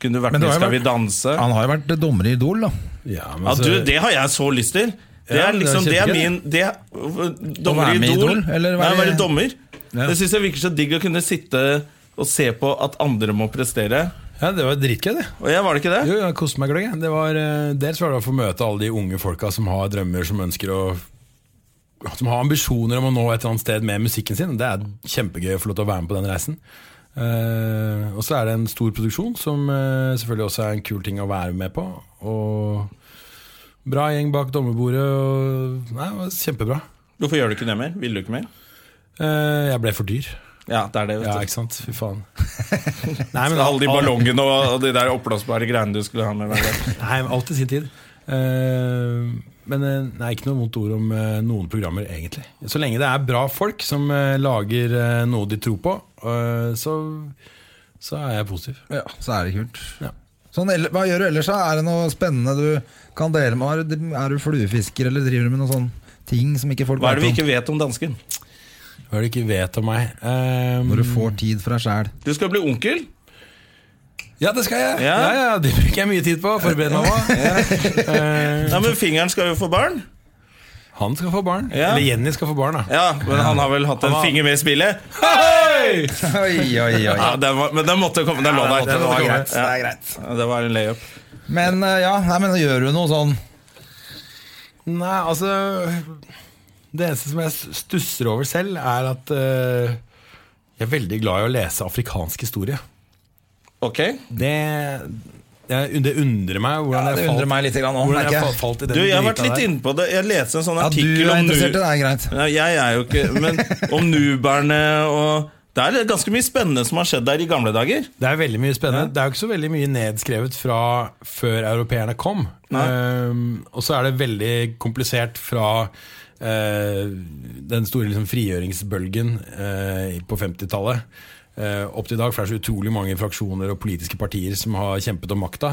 [SPEAKER 1] Kunne du vært
[SPEAKER 2] Men det
[SPEAKER 1] med i
[SPEAKER 2] har jo
[SPEAKER 1] Skal vi
[SPEAKER 2] vært- altså-
[SPEAKER 1] danse?
[SPEAKER 2] Han har jo vært dommer i Idol, da.
[SPEAKER 4] Ja, men
[SPEAKER 1] Ja,
[SPEAKER 4] så-
[SPEAKER 1] du, det har jeg så lyst til! Det
[SPEAKER 4] Ja,
[SPEAKER 1] er liksom,
[SPEAKER 4] det
[SPEAKER 1] det
[SPEAKER 4] er
[SPEAKER 1] er
[SPEAKER 4] kjempegøy.
[SPEAKER 1] min det, Dommer
[SPEAKER 2] være
[SPEAKER 1] i
[SPEAKER 2] med i
[SPEAKER 1] Idol?
[SPEAKER 2] Idol, eller
[SPEAKER 1] Nei,
[SPEAKER 2] være-
[SPEAKER 1] være dommer.
[SPEAKER 2] Ja.
[SPEAKER 1] Det syns jeg virker så digg å kunne sitte og se på at andre må prestere.
[SPEAKER 4] ja, det var dritgøy, det.
[SPEAKER 1] Og jeg var det ikke det?
[SPEAKER 4] Jo, jeg koste meg gløgg. jeg. Det var, eh, dels var det å få møte alle de unge folka som har drømmer, som ønsker å Som har ambisjoner om å nå et eller annet sted med musikken sin. Det er kjempegøy å få lov til å være med på den reisen. Eh, og så er det en stor produksjon, som eh, selvfølgelig også er en kul ting å være med på. Og bra gjeng bak dommerbordet. Og, nei, det var kjempebra.
[SPEAKER 1] Hvorfor gjør du ikke det mer? Vil du ikke mer?
[SPEAKER 4] Eh, jeg ble for dyr.
[SPEAKER 1] Ja, det er det, vet
[SPEAKER 4] Ja,
[SPEAKER 1] du.
[SPEAKER 4] ikke sant? Fy faen. Nei,
[SPEAKER 1] Med alle de ballongene og, og de der oppblåsbare greiene du skulle ha med hver dag.
[SPEAKER 4] Nei, alt i sin tid. Eh, men eh, nei, ikke noe vondt ord om eh, noen programmer, egentlig. Så lenge det er bra folk som eh, lager eh, noe de tror på, eh, så, så er jeg positiv.
[SPEAKER 2] Ja, så er det kult.
[SPEAKER 4] Ja.
[SPEAKER 2] Sånn, ell- hva gjør du ellers? da? Er det noe spennende du kan dele med? Er du- Er du fluefisker, eller driver du med noen sånne ting som ikke folk
[SPEAKER 1] Hva er det vi
[SPEAKER 2] vet om?
[SPEAKER 1] ikke vet om dansken?
[SPEAKER 4] Hva er det du ikke vet om meg? Eh,
[SPEAKER 2] Når du får tid fra sjæl.
[SPEAKER 1] Du skal bli onkel.
[SPEAKER 4] Ja, det skal jeg! Ja.
[SPEAKER 1] Ja.
[SPEAKER 4] Ja, det bruker jeg mye tid på. Forberede meg på. Eh,
[SPEAKER 1] Nei, men fingeren skal jo få barn.
[SPEAKER 4] Han skal få barn.
[SPEAKER 1] Ja.
[SPEAKER 4] Eller Jenny skal få barn, da.
[SPEAKER 1] Ja, men han har vel hatt en
[SPEAKER 4] har-
[SPEAKER 1] finger med i spillet?
[SPEAKER 4] Hei!
[SPEAKER 2] Oi, oi, oi.
[SPEAKER 1] Ja, den var, men den måtte komme. Den lå
[SPEAKER 4] den
[SPEAKER 1] der.
[SPEAKER 4] måtte- den var
[SPEAKER 1] Ja.
[SPEAKER 2] greit, det er greit.
[SPEAKER 1] Ja, det var en layup.
[SPEAKER 2] Men eh, ja, nei, men gjør du noe sånn
[SPEAKER 4] Nei, altså Det eneste som jeg stusser over selv, er at eh, jeg er veldig glad i å lese afrikansk historie.
[SPEAKER 1] Ok.
[SPEAKER 4] Det, jeg, det undrer meg
[SPEAKER 2] Ja,
[SPEAKER 4] hvordan
[SPEAKER 2] det
[SPEAKER 4] jeg falt-
[SPEAKER 2] undrer meg litt grann også,
[SPEAKER 4] hvordan
[SPEAKER 2] merker
[SPEAKER 4] jeg
[SPEAKER 2] jeg.
[SPEAKER 4] fa- falt i den
[SPEAKER 1] Du, jeg har vært
[SPEAKER 4] gryta
[SPEAKER 1] litt
[SPEAKER 4] der.
[SPEAKER 1] inne på det. Jeg leste en sånn
[SPEAKER 2] Ja, du
[SPEAKER 1] artikkel
[SPEAKER 2] er
[SPEAKER 1] om
[SPEAKER 2] interessert i det,
[SPEAKER 1] nu...
[SPEAKER 2] det er greit.
[SPEAKER 1] Nei, jeg er jo ikke Men om nuberne og Det er ganske mye spennende som har skjedd der i gamle dager.
[SPEAKER 4] Det er veldig mye spennende. Det er jo ikke så veldig mye nedskrevet fra før europeerne kom.
[SPEAKER 1] Nei.
[SPEAKER 4] Ehm, og så er det veldig komplisert fra eh, den store liksom, frigjøringsbølgen eh, på 50-tallet eh, opp til i dag. For det er så utrolig mange fraksjoner og politiske partier som har kjempet om makta.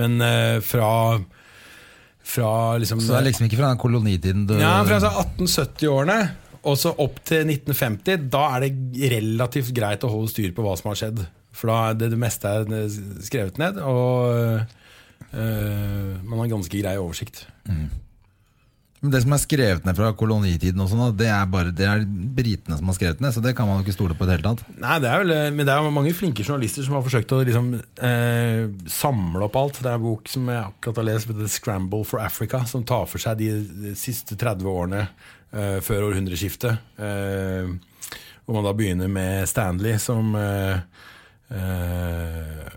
[SPEAKER 4] Men eh, fra, fra liksom,
[SPEAKER 2] Så det er liksom ikke fra den kolonitiden du
[SPEAKER 4] ja, fra altså 1870-årene og så opp til 1950, da er det relativt greit å holde styr på hva som har skjedd. For da er det, det meste er skrevet ned, og øh, man har ganske grei oversikt.
[SPEAKER 2] Men Det som er skrevet ned fra kolonitiden, og sånn, da, det er bare det er britene som har skrevet ned. Så det kan man jo ikke stole på i det hele tatt.
[SPEAKER 4] Nei, det er vel, eh, Men det er jo mange flinke journalister som har forsøkt å liksom, eh, samle opp alt. Det er en bok som jeg akkurat har lest, som heter 'Scramble for Africa', som tar for seg de, de siste 30 årene eh, før århundreskiftet. Eh, hvor man da begynner med Stanley, som eh, eh,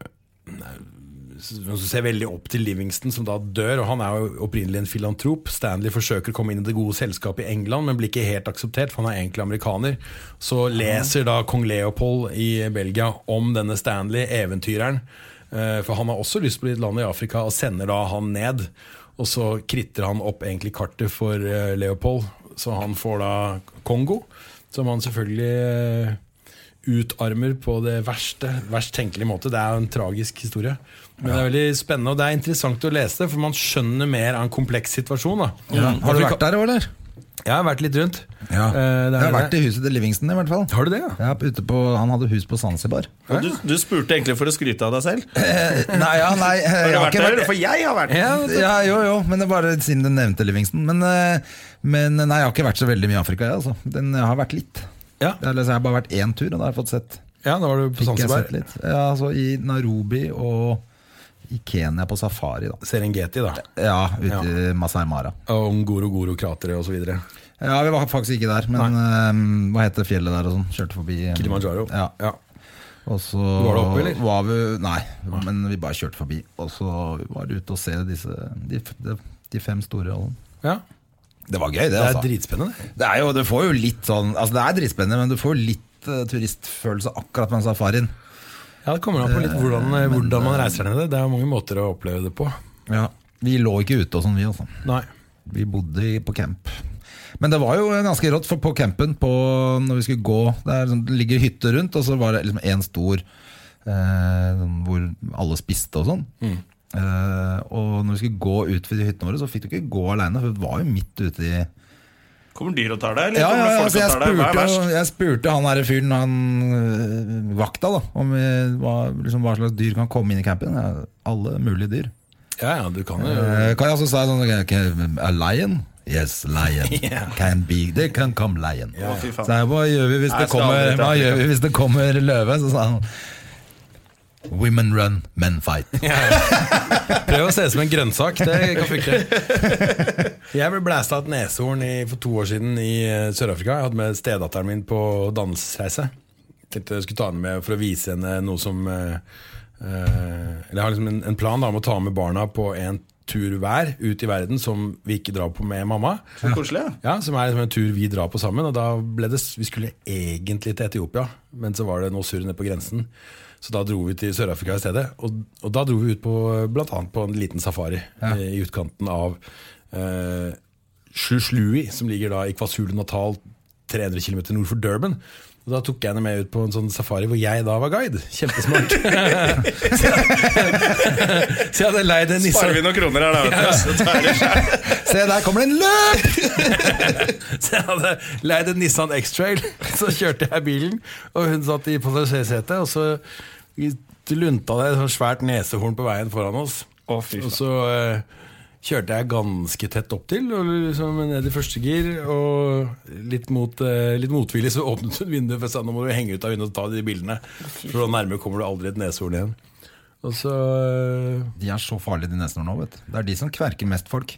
[SPEAKER 4] som ser veldig opp til Livingston, som da dør. og Han er jo opprinnelig en filantrop. Stanley forsøker å komme inn i det gode selskapet i England, men blir ikke helt akseptert, for han er egentlig amerikaner. Så leser da kong Leopold i Belgia om denne Stanley, eventyreren. Eh, For han har også lyst på et land i Afrika, og sender da han ned. Og så kritter han opp egentlig kartet for eh, Leopold, så han får da Kongo, som han selvfølgelig eh, utarmer på det verste, verst tenkelige måte. Det er jo en tragisk historie. Men det er veldig spennende, og det er interessant å lese det, for man skjønner mer av en kompleks situasjon. Da.
[SPEAKER 2] Har du vært der òg, eller?
[SPEAKER 4] Jeg har vært litt rundt.
[SPEAKER 2] Ja.
[SPEAKER 4] Eh, det er
[SPEAKER 2] Jeg har
[SPEAKER 4] det.
[SPEAKER 2] vært i huset til Livingston, i hvert fall.
[SPEAKER 4] Har du det, ja?
[SPEAKER 2] Ja, ute på, han hadde hus på Zanzibar. Eh,
[SPEAKER 1] Og du, du spurte egentlig for å skryte av deg selv.
[SPEAKER 2] Nei, ja, nei jeg
[SPEAKER 1] Har du
[SPEAKER 2] har
[SPEAKER 1] vært
[SPEAKER 2] ikke
[SPEAKER 1] der?
[SPEAKER 2] vært
[SPEAKER 1] For jeg har vært der.
[SPEAKER 2] ja, ja, jo, jo, men det er bare siden du nevnte Livingston. Men, eh, men nei, jeg har ikke vært så veldig mye i Afrika, jeg, altså. Den jeg har vært litt.
[SPEAKER 4] Ja.
[SPEAKER 2] Eller, så jeg har bare vært én tur, og da har jeg fått sett.
[SPEAKER 4] ja, da var du
[SPEAKER 2] Fikk
[SPEAKER 4] på
[SPEAKER 2] jeg
[SPEAKER 4] Zanzibar.
[SPEAKER 2] sett litt. Ja, altså I Nairobi og i Kenya på safari, da.
[SPEAKER 4] Serengeti, da.
[SPEAKER 2] Ja, ute i Masai Mara.
[SPEAKER 4] Og Ngorogoro-krateret osv.
[SPEAKER 2] Ja, vi var faktisk ikke der, men eh, hva heter fjellet der og sånn? Kjørte forbi eh,
[SPEAKER 4] Kilimanjaro.
[SPEAKER 2] Ja.
[SPEAKER 4] Ja.
[SPEAKER 2] Og så
[SPEAKER 4] Var det oppe, eller?
[SPEAKER 2] Var vi, nei, men vi bare kjørte forbi. Og så var vi ute og se disse, de, de, de fem store rollene.
[SPEAKER 4] Ja.
[SPEAKER 2] Det var gøy, det.
[SPEAKER 4] Det er
[SPEAKER 2] altså.
[SPEAKER 4] dritspennende.
[SPEAKER 2] Det er jo, du får jo litt sånn Altså det er dritspennende, men du får jo litt eh, turistfølelse akkurat på den safarien.
[SPEAKER 4] Ja, Det kommer an på litt
[SPEAKER 2] Eh,
[SPEAKER 4] hvordan, eh, hvordan man reiser ned. Det Det er mange måter å oppleve det på.
[SPEAKER 2] Ja. Vi lå ikke ute og sånn, vi, altså.
[SPEAKER 4] Nei.
[SPEAKER 2] Vi bodde i- på camp. Men det var jo ganske rått, for på campen på, når vi skulle gå der, sånn, Det ligger hytter rundt, og så var det liksom en stor eh, sånn hvor alle spiste og sånn.
[SPEAKER 1] Mm.
[SPEAKER 2] Eh, og når vi skulle gå ut ved de hyttene våre, så fikk du ikke gå aleine, for vi var jo midt ute i
[SPEAKER 1] Kommer dyr og tar deg, eller
[SPEAKER 2] Ja, ja,
[SPEAKER 1] kommer det
[SPEAKER 2] ja
[SPEAKER 1] folk
[SPEAKER 2] altså
[SPEAKER 1] og
[SPEAKER 2] jeg,
[SPEAKER 1] tar deg? Hva er
[SPEAKER 2] spurte,
[SPEAKER 1] verst?
[SPEAKER 2] jo- jeg spurte han her fyren, han øh, vakta, da om øh, hva, liksom, hva slags dyr kan komme inn i campen. Ja, alle mulige dyr.
[SPEAKER 4] Ja, ja, du kan jo
[SPEAKER 2] Eh, Kan jeg også si sånn okay, okay, A lion? Yes, lion. Can be, they can come lion.
[SPEAKER 1] Å, fy faen.
[SPEAKER 2] Så jeg, hva gjør vi hvis
[SPEAKER 1] Nei,
[SPEAKER 2] det
[SPEAKER 1] jeg skal
[SPEAKER 2] kommer,
[SPEAKER 1] aldri
[SPEAKER 2] hva
[SPEAKER 1] treffe
[SPEAKER 2] gjør vi hvis det kommer løve? Så sa han Women run, men fight.
[SPEAKER 4] Prøv å se ut som en grønnsak, det kan funke. Jeg ble blæsta av et neshorn i, for to år siden i eh, Sør-Afrika. Jeg hadde med stedatteren min på dannelsesreise. Tenkte jeg skulle ta henne med for å vise henne noe som eh, eh, Eller jeg har liksom en, en plan da, om å ta med barna på en tur hver ut i verden som vi ikke drar på med mamma.
[SPEAKER 1] Så koselig. ja.
[SPEAKER 4] Ja, som er liksom en tur vi drar på sammen. Og da ble det, Vi skulle egentlig til Etiopia, men så var det noe surr nede på grensen. Så da dro vi til Sør-Afrika i stedet. Og, og da dro vi ut på bl.a. på en liten safari eh, i utkanten av eh, Slushlui, som ligger da i KwaZulu-Natal 300 km nord for Durban. Og Da tok jeg henne med ut på en sånn safari hvor jeg da var guide. Kjempesmart. så jeg- så jeg hadde leid en Nissan
[SPEAKER 1] Sparer vi noen kroner her, da. Vet du. Så tar jeg det selv.
[SPEAKER 2] Se, der kommer det en løp!
[SPEAKER 4] Så jeg hadde leid en Nissan X-Trail, så kjørte jeg bilen, og hun satt i passasjersetet, og så lunta det et sånt svært nesehorn på veien foran oss.
[SPEAKER 1] Å, fy faen.
[SPEAKER 4] og så eh, kjørte jeg ganske tett opp til, og liksom ned i første gir. Og litt, mot, eh, litt motvillig så åpnet hun vinduet, for jeg sa nå må du henge ut av vinduet og ta de bildene. For så nærme kommer du aldri et neshorn igjen. Og så eh,
[SPEAKER 2] De er så farlige, de neshornene òg, vet du. Det er de som kverker mest folk.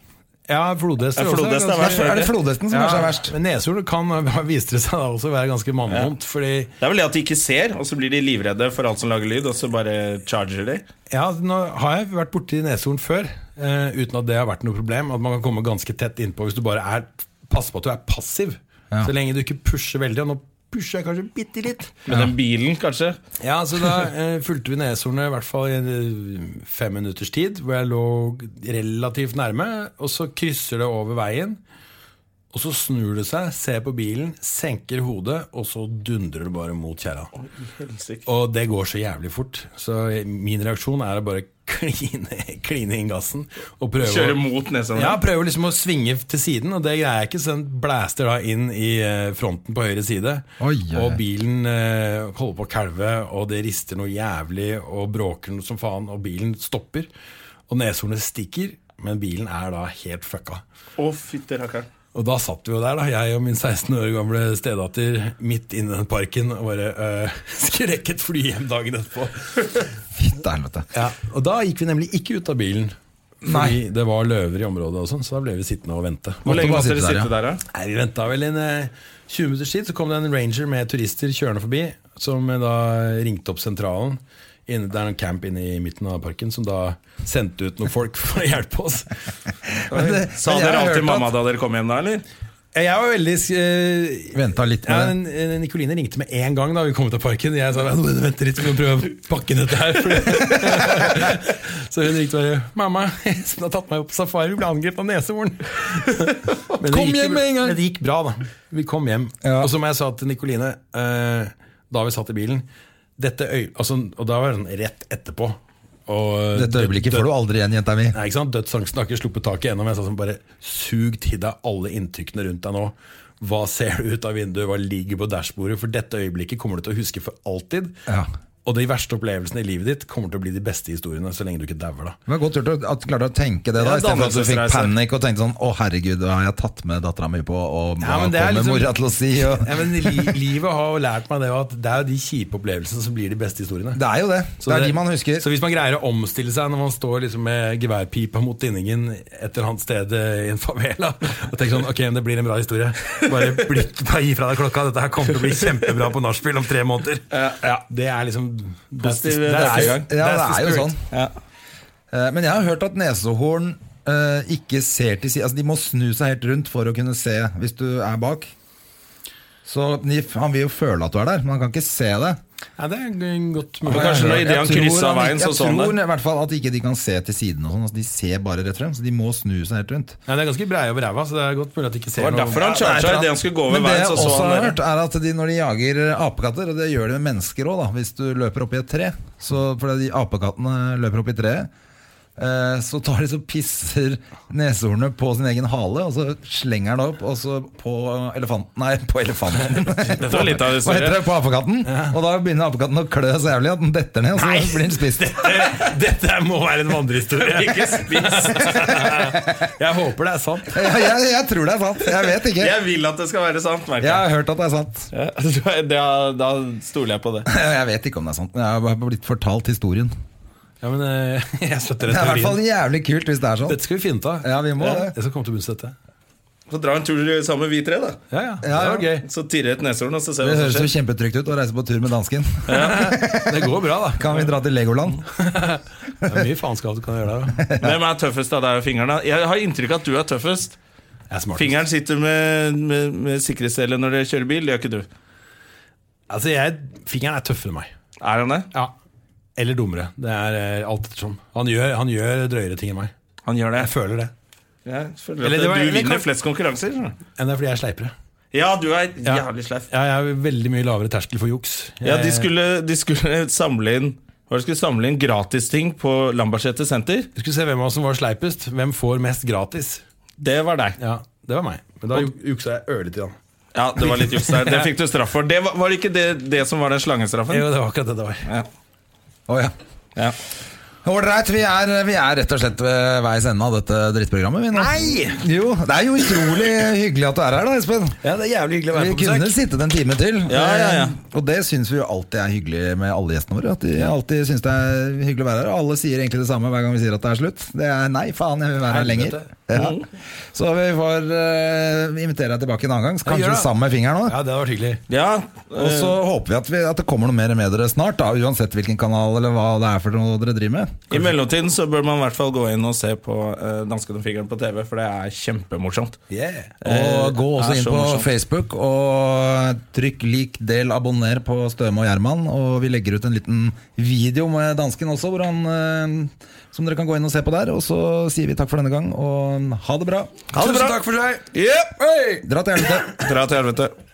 [SPEAKER 4] Ja, flodhester
[SPEAKER 1] Ja,
[SPEAKER 4] også.
[SPEAKER 1] flodhest er verst.
[SPEAKER 2] Er det flodhesten som kanskje er verst?
[SPEAKER 4] Men neshorn kan, viste det seg da også å være ganske mannvondt. Fordi
[SPEAKER 1] Det er vel det at de ikke ser, og så blir de livredde for alt som lager lyd, og så bare charger de.
[SPEAKER 4] ja, nå har jeg vært borti neshorn før, eh, uten at det har vært noe problem. At man kan komme ganske tett innpå hvis du bare er, passer på at du er passiv.
[SPEAKER 2] Ja.
[SPEAKER 4] Så lenge du ikke pusher veldig. Og nå pusher jeg kanskje bitte litt.
[SPEAKER 1] Med den bilen, kanskje.
[SPEAKER 4] Ja, så da eh, fulgte vi neshornet i hvert fall i eh, fem minutters tid, hvor jeg lå relativt nærme, og så krysser det over veien, og så snur det seg, ser på bilen, senker hodet, og så dundrer det bare mot kjerra. Og det går så jævlig fort, så min reaksjon er å bare kline, kline inn gassen og prøve
[SPEAKER 1] Kjøre
[SPEAKER 4] å
[SPEAKER 1] mot nesen.
[SPEAKER 4] ja, prøver liksom å svinge til siden, og det greier jeg ikke. Så den blæster da inn i eh, fronten på høyre side.
[SPEAKER 2] Oi, oi, oi.
[SPEAKER 4] Og bilen eh, holder på å kalve, og det rister noe jævlig, og bråker noe som faen, og bilen stopper. Og neshornet stikker, men bilen er da helt fucka.
[SPEAKER 1] Å, fytti rakkeren.
[SPEAKER 4] Og da satt vi jo der, da, jeg og min 16 år gamle stedatter midt inne i den parken og bare eh, skulle rekke et fly hjem dagen etterpå.
[SPEAKER 2] Fytte helvete.
[SPEAKER 4] Ja, og da gikk vi nemlig ikke ut av bilen. Fordi det var løver i området, og sånn, så da ble vi sittende og vente.
[SPEAKER 1] Hvor lenge
[SPEAKER 2] bare
[SPEAKER 1] måtte dere
[SPEAKER 2] sitte der,
[SPEAKER 1] sitte der, da?
[SPEAKER 4] Nei, Vi venta vel en eh, 20 minutters tid, så kom det en ranger med turister kjørende forbi. Som eh, da ringte opp sentralen. Inne, det er en camp inne i midten av parken som da sendte ut noen folk for å hjelpe oss.
[SPEAKER 2] Men det-
[SPEAKER 1] Sa
[SPEAKER 2] men jeg
[SPEAKER 1] dere
[SPEAKER 2] har
[SPEAKER 1] alt til
[SPEAKER 2] hørt at-
[SPEAKER 1] mamma da dere kom hjem, da, eller?
[SPEAKER 4] Jeg var veldig eh,
[SPEAKER 2] Venta litt med
[SPEAKER 4] ja,
[SPEAKER 2] det.
[SPEAKER 4] men, eh, Nikoline ringte med en gang da vi kom ut av parken. Jeg sa at hun venter litt, vi må prøve å pakke inn dette her. fordi- så hun ringte bare 'Mamma, Espen har tatt meg opp på safari, vi ble angrepet av neshorn'. Men det
[SPEAKER 2] Kom
[SPEAKER 4] gikk jo
[SPEAKER 2] hjem
[SPEAKER 4] bra-
[SPEAKER 2] med en gang.
[SPEAKER 4] Men det gikk bra, da. Vi kom hjem.
[SPEAKER 2] Ja.
[SPEAKER 4] Og som jeg sa til Nikoline eh, da vi satt i bilen dette øy, altså, Og da var det sånn rett etterpå. Og
[SPEAKER 2] Dette øyeblikket får du aldri igjen, jenta mi.
[SPEAKER 4] Nei, ikke sant? Dødsangsten har ikke sluppet taket ennå, men jeg sa sånn bare sug til deg alle inntrykkene rundt deg nå. Hva ser du ut av vinduet, hva ligger på dashbordet? For dette øyeblikket kommer du til å huske for alltid.
[SPEAKER 2] Ja.
[SPEAKER 4] Og de verste opplevelsene i livet ditt kommer til å bli de beste historiene, så lenge du ikke dauer, da.
[SPEAKER 2] Det var godt gjort at- at du klarte å tenke det da,
[SPEAKER 1] Ja,
[SPEAKER 2] istedenfor at du fikk
[SPEAKER 1] dannelsesreise.
[SPEAKER 2] panikk og tenkte sånn Å, herregud, hva har jeg tatt med dattera mi på, og hva
[SPEAKER 4] Ja, men det er
[SPEAKER 2] kommer
[SPEAKER 4] liksom-
[SPEAKER 2] mora til å si? Og...
[SPEAKER 4] Ja, men li livet har jo lært meg det at det er jo de kjipe opplevelsene som blir de beste historiene.
[SPEAKER 2] Det er jo det.
[SPEAKER 4] Så
[SPEAKER 2] det er de man husker.
[SPEAKER 4] Så hvis man greier å omstille seg når man står liksom med geværpipa mot tinningen et eller annet sted eh, i en favela og tenker sånn Ok, men det blir en bra historie. Bare, bli, bare gi fra deg klokka. Dette her kommer til å bli kjempebra på nachspiel om tre måneder. Ja, det er liksom that's the-
[SPEAKER 1] Positiv
[SPEAKER 4] that's the-
[SPEAKER 1] tankegang.
[SPEAKER 2] Ja, det
[SPEAKER 4] that's the
[SPEAKER 2] er jo
[SPEAKER 4] spirit.
[SPEAKER 2] sånn. Eh, Men jeg har hørt at nesehorn eh, ikke ser til siden Altså, de må snu seg helt rundt for å kunne se hvis du er bak. Så de, han vil jo føle at du er der, men han kan ikke se det.
[SPEAKER 4] Ja, det er g- godt
[SPEAKER 1] Men
[SPEAKER 4] mulig.
[SPEAKER 1] kanskje når
[SPEAKER 2] Jeg
[SPEAKER 1] idet han
[SPEAKER 2] tror
[SPEAKER 1] krysset
[SPEAKER 2] han-
[SPEAKER 1] veien, så sånn så han
[SPEAKER 2] Jeg tror i hvert fall at ikke de kan se til siden og sånn. Altså, de ser bare rett frem, så de må snu seg helt rundt.
[SPEAKER 4] Nei, det er ganske breie over ræva, så det er godt mulig at de ikke
[SPEAKER 1] Det
[SPEAKER 4] ser
[SPEAKER 1] var
[SPEAKER 4] noe.
[SPEAKER 1] derfor han charga idet han skulle gå over
[SPEAKER 2] Men det
[SPEAKER 1] veien.
[SPEAKER 2] jeg
[SPEAKER 1] Så
[SPEAKER 2] også
[SPEAKER 1] så
[SPEAKER 2] har
[SPEAKER 1] han
[SPEAKER 2] hørt, er at de, når de jager apekatter, og det gjør de med mennesker òg, hvis du løper oppi et tre så, Fordi de apekattene løper oppi treet, eh, så tar de så pisser neshornet på sin egen hale, og så slenger han det opp, og så på elefanten Nei, på elefanten.
[SPEAKER 1] Dette var litt av
[SPEAKER 2] Hva heter
[SPEAKER 1] historien.
[SPEAKER 2] det? På apekatten? Og da begynner apekatten å klø så jævlig at den detter ned, og så blir den spist.
[SPEAKER 4] Dette må være en vandrehistorie.
[SPEAKER 1] Ikke spis.
[SPEAKER 4] Jeg håper det er sant.
[SPEAKER 2] Ja, jeg, jeg tror det er sant. Jeg vet ikke.
[SPEAKER 1] Jeg vil at det skal være sant, merker
[SPEAKER 2] Jeg
[SPEAKER 1] jeg.
[SPEAKER 2] har hørt at det er sant.
[SPEAKER 1] Ja, da, da stoler jeg på det.
[SPEAKER 2] Jeg vet ikke om det er sant, men jeg har bare blitt fortalt historien.
[SPEAKER 4] Ja, men eh, jeg støtter
[SPEAKER 2] Det er
[SPEAKER 4] den
[SPEAKER 2] i hvert fall
[SPEAKER 4] teorien.
[SPEAKER 2] jævlig kult hvis det er sånn.
[SPEAKER 4] Dette skal vi finne ut av.
[SPEAKER 2] Ja, vi må det.
[SPEAKER 4] Jeg skal komme til bunns i dette.
[SPEAKER 1] Så dra en tur sammen med vi tre, da.
[SPEAKER 4] Ja, ja. Det
[SPEAKER 2] Ja,
[SPEAKER 4] var
[SPEAKER 2] ja.
[SPEAKER 4] gøy.
[SPEAKER 1] Så tirre et neshorn, og så ser vi
[SPEAKER 2] Det
[SPEAKER 1] hva
[SPEAKER 2] høres
[SPEAKER 1] som
[SPEAKER 2] jo
[SPEAKER 1] skjer.
[SPEAKER 2] kjempetrygt ut å reise på tur med dansken.
[SPEAKER 4] Det går bra, da.
[SPEAKER 2] Kan vi dra til Legoland?
[SPEAKER 4] Det er mye faenskap du kan gjøre der.
[SPEAKER 1] Hvem er tøffest av deg og fingeren? da? Jeg har inntrykk av at du er tøffest.
[SPEAKER 4] Jeg er smartest.
[SPEAKER 1] Fingeren sitter med, med, med sikkerhetsdelen når dere kjører bil, det gjør ikke du.
[SPEAKER 4] Altså, jeg, fingeren er tøffere enn meg.
[SPEAKER 1] Er han det?
[SPEAKER 4] Eller dummere. Det er eh, alt ettersom. Han gjør, han gjør drøyere ting enn meg.
[SPEAKER 1] Han gjør det.
[SPEAKER 4] Jeg føler det.
[SPEAKER 1] Jeg føler at
[SPEAKER 4] Eller det var-
[SPEAKER 1] du
[SPEAKER 4] eller
[SPEAKER 1] vinner
[SPEAKER 4] kan-
[SPEAKER 1] flest konkurranser. skjønner du.
[SPEAKER 4] Enn det er fordi jeg er sleipere.
[SPEAKER 1] Ja, du er jævlig sleif.
[SPEAKER 4] Ja, jeg har veldig mye lavere terskel for juks. Jeg,
[SPEAKER 1] Ja, de skulle, de skulle samle inn hva var det de skulle samle inn gratisting på Lambertseter senter.
[SPEAKER 4] Vi skulle se hvem av oss som var sleipest. Hvem får mest gratis?
[SPEAKER 1] Det var deg.
[SPEAKER 4] Ja, det var meg. Men da ju- juksa jeg ørlite grann.
[SPEAKER 1] Ja, Det var litt juks der. Det fikk du straff for. Det var, var det ikke det, det som var den slangestraffen?
[SPEAKER 4] Jo, det var akkurat det det var.
[SPEAKER 1] Ja.
[SPEAKER 2] Å ja.
[SPEAKER 1] Ja.
[SPEAKER 2] Å, Ålreit, vi, er- vi er rett og slett ved veis ende av dette drittprogrammet. Vi nå.
[SPEAKER 1] Nei!
[SPEAKER 2] Jo, Det er jo utrolig hyggelig at du er her, da, Espen.
[SPEAKER 1] Ja, det er jævlig hyggelig å
[SPEAKER 2] Vi
[SPEAKER 1] være på
[SPEAKER 2] kunne
[SPEAKER 1] besøk.
[SPEAKER 2] sittet en time til.
[SPEAKER 1] Ja, ja, ja.
[SPEAKER 2] Eh, Og det syns vi jo alltid er hyggelig med alle gjestene våre. At de alltid syns det er hyggelig å være her. Og alle sier egentlig det samme hver gang vi sier at det er slutt. Det er nei, faen, jeg vil være her lenger.
[SPEAKER 4] Helvete.
[SPEAKER 2] Ja.
[SPEAKER 1] Mm.
[SPEAKER 2] Så vi får eh, invitere deg tilbake en annen gang.
[SPEAKER 4] gjør
[SPEAKER 2] Kanskje
[SPEAKER 4] det.
[SPEAKER 2] sammen med fingeren òg.
[SPEAKER 4] Ja, det hadde vært hyggelig.
[SPEAKER 1] Ja,
[SPEAKER 2] Og
[SPEAKER 1] eh,
[SPEAKER 2] så håper vi at, vi at det kommer noe mer med dere snart, da, uansett hvilken kanal eller hva det er for noe dere driver med.
[SPEAKER 1] I mellomtiden så bør man i hvert fall gå inn og se på uh, Danskene og fingeren på TV, for det er kjempemorsomt.
[SPEAKER 2] Og gå også
[SPEAKER 1] Eh, er
[SPEAKER 2] inn
[SPEAKER 1] så
[SPEAKER 2] på
[SPEAKER 1] morsomt.
[SPEAKER 2] Facebook og trykk lik, del, abonner på Støme og Gjerman. Og vi legger ut en liten video med dansken også, hvor han, eh, som dere kan gå inn og se på der. Og så sier vi takk for denne gang, og ha det bra.
[SPEAKER 1] Ha det
[SPEAKER 4] Tusen
[SPEAKER 1] bra!
[SPEAKER 4] takk for seg!
[SPEAKER 1] Yep.
[SPEAKER 2] Dra til helvete.
[SPEAKER 1] Dra til helvete.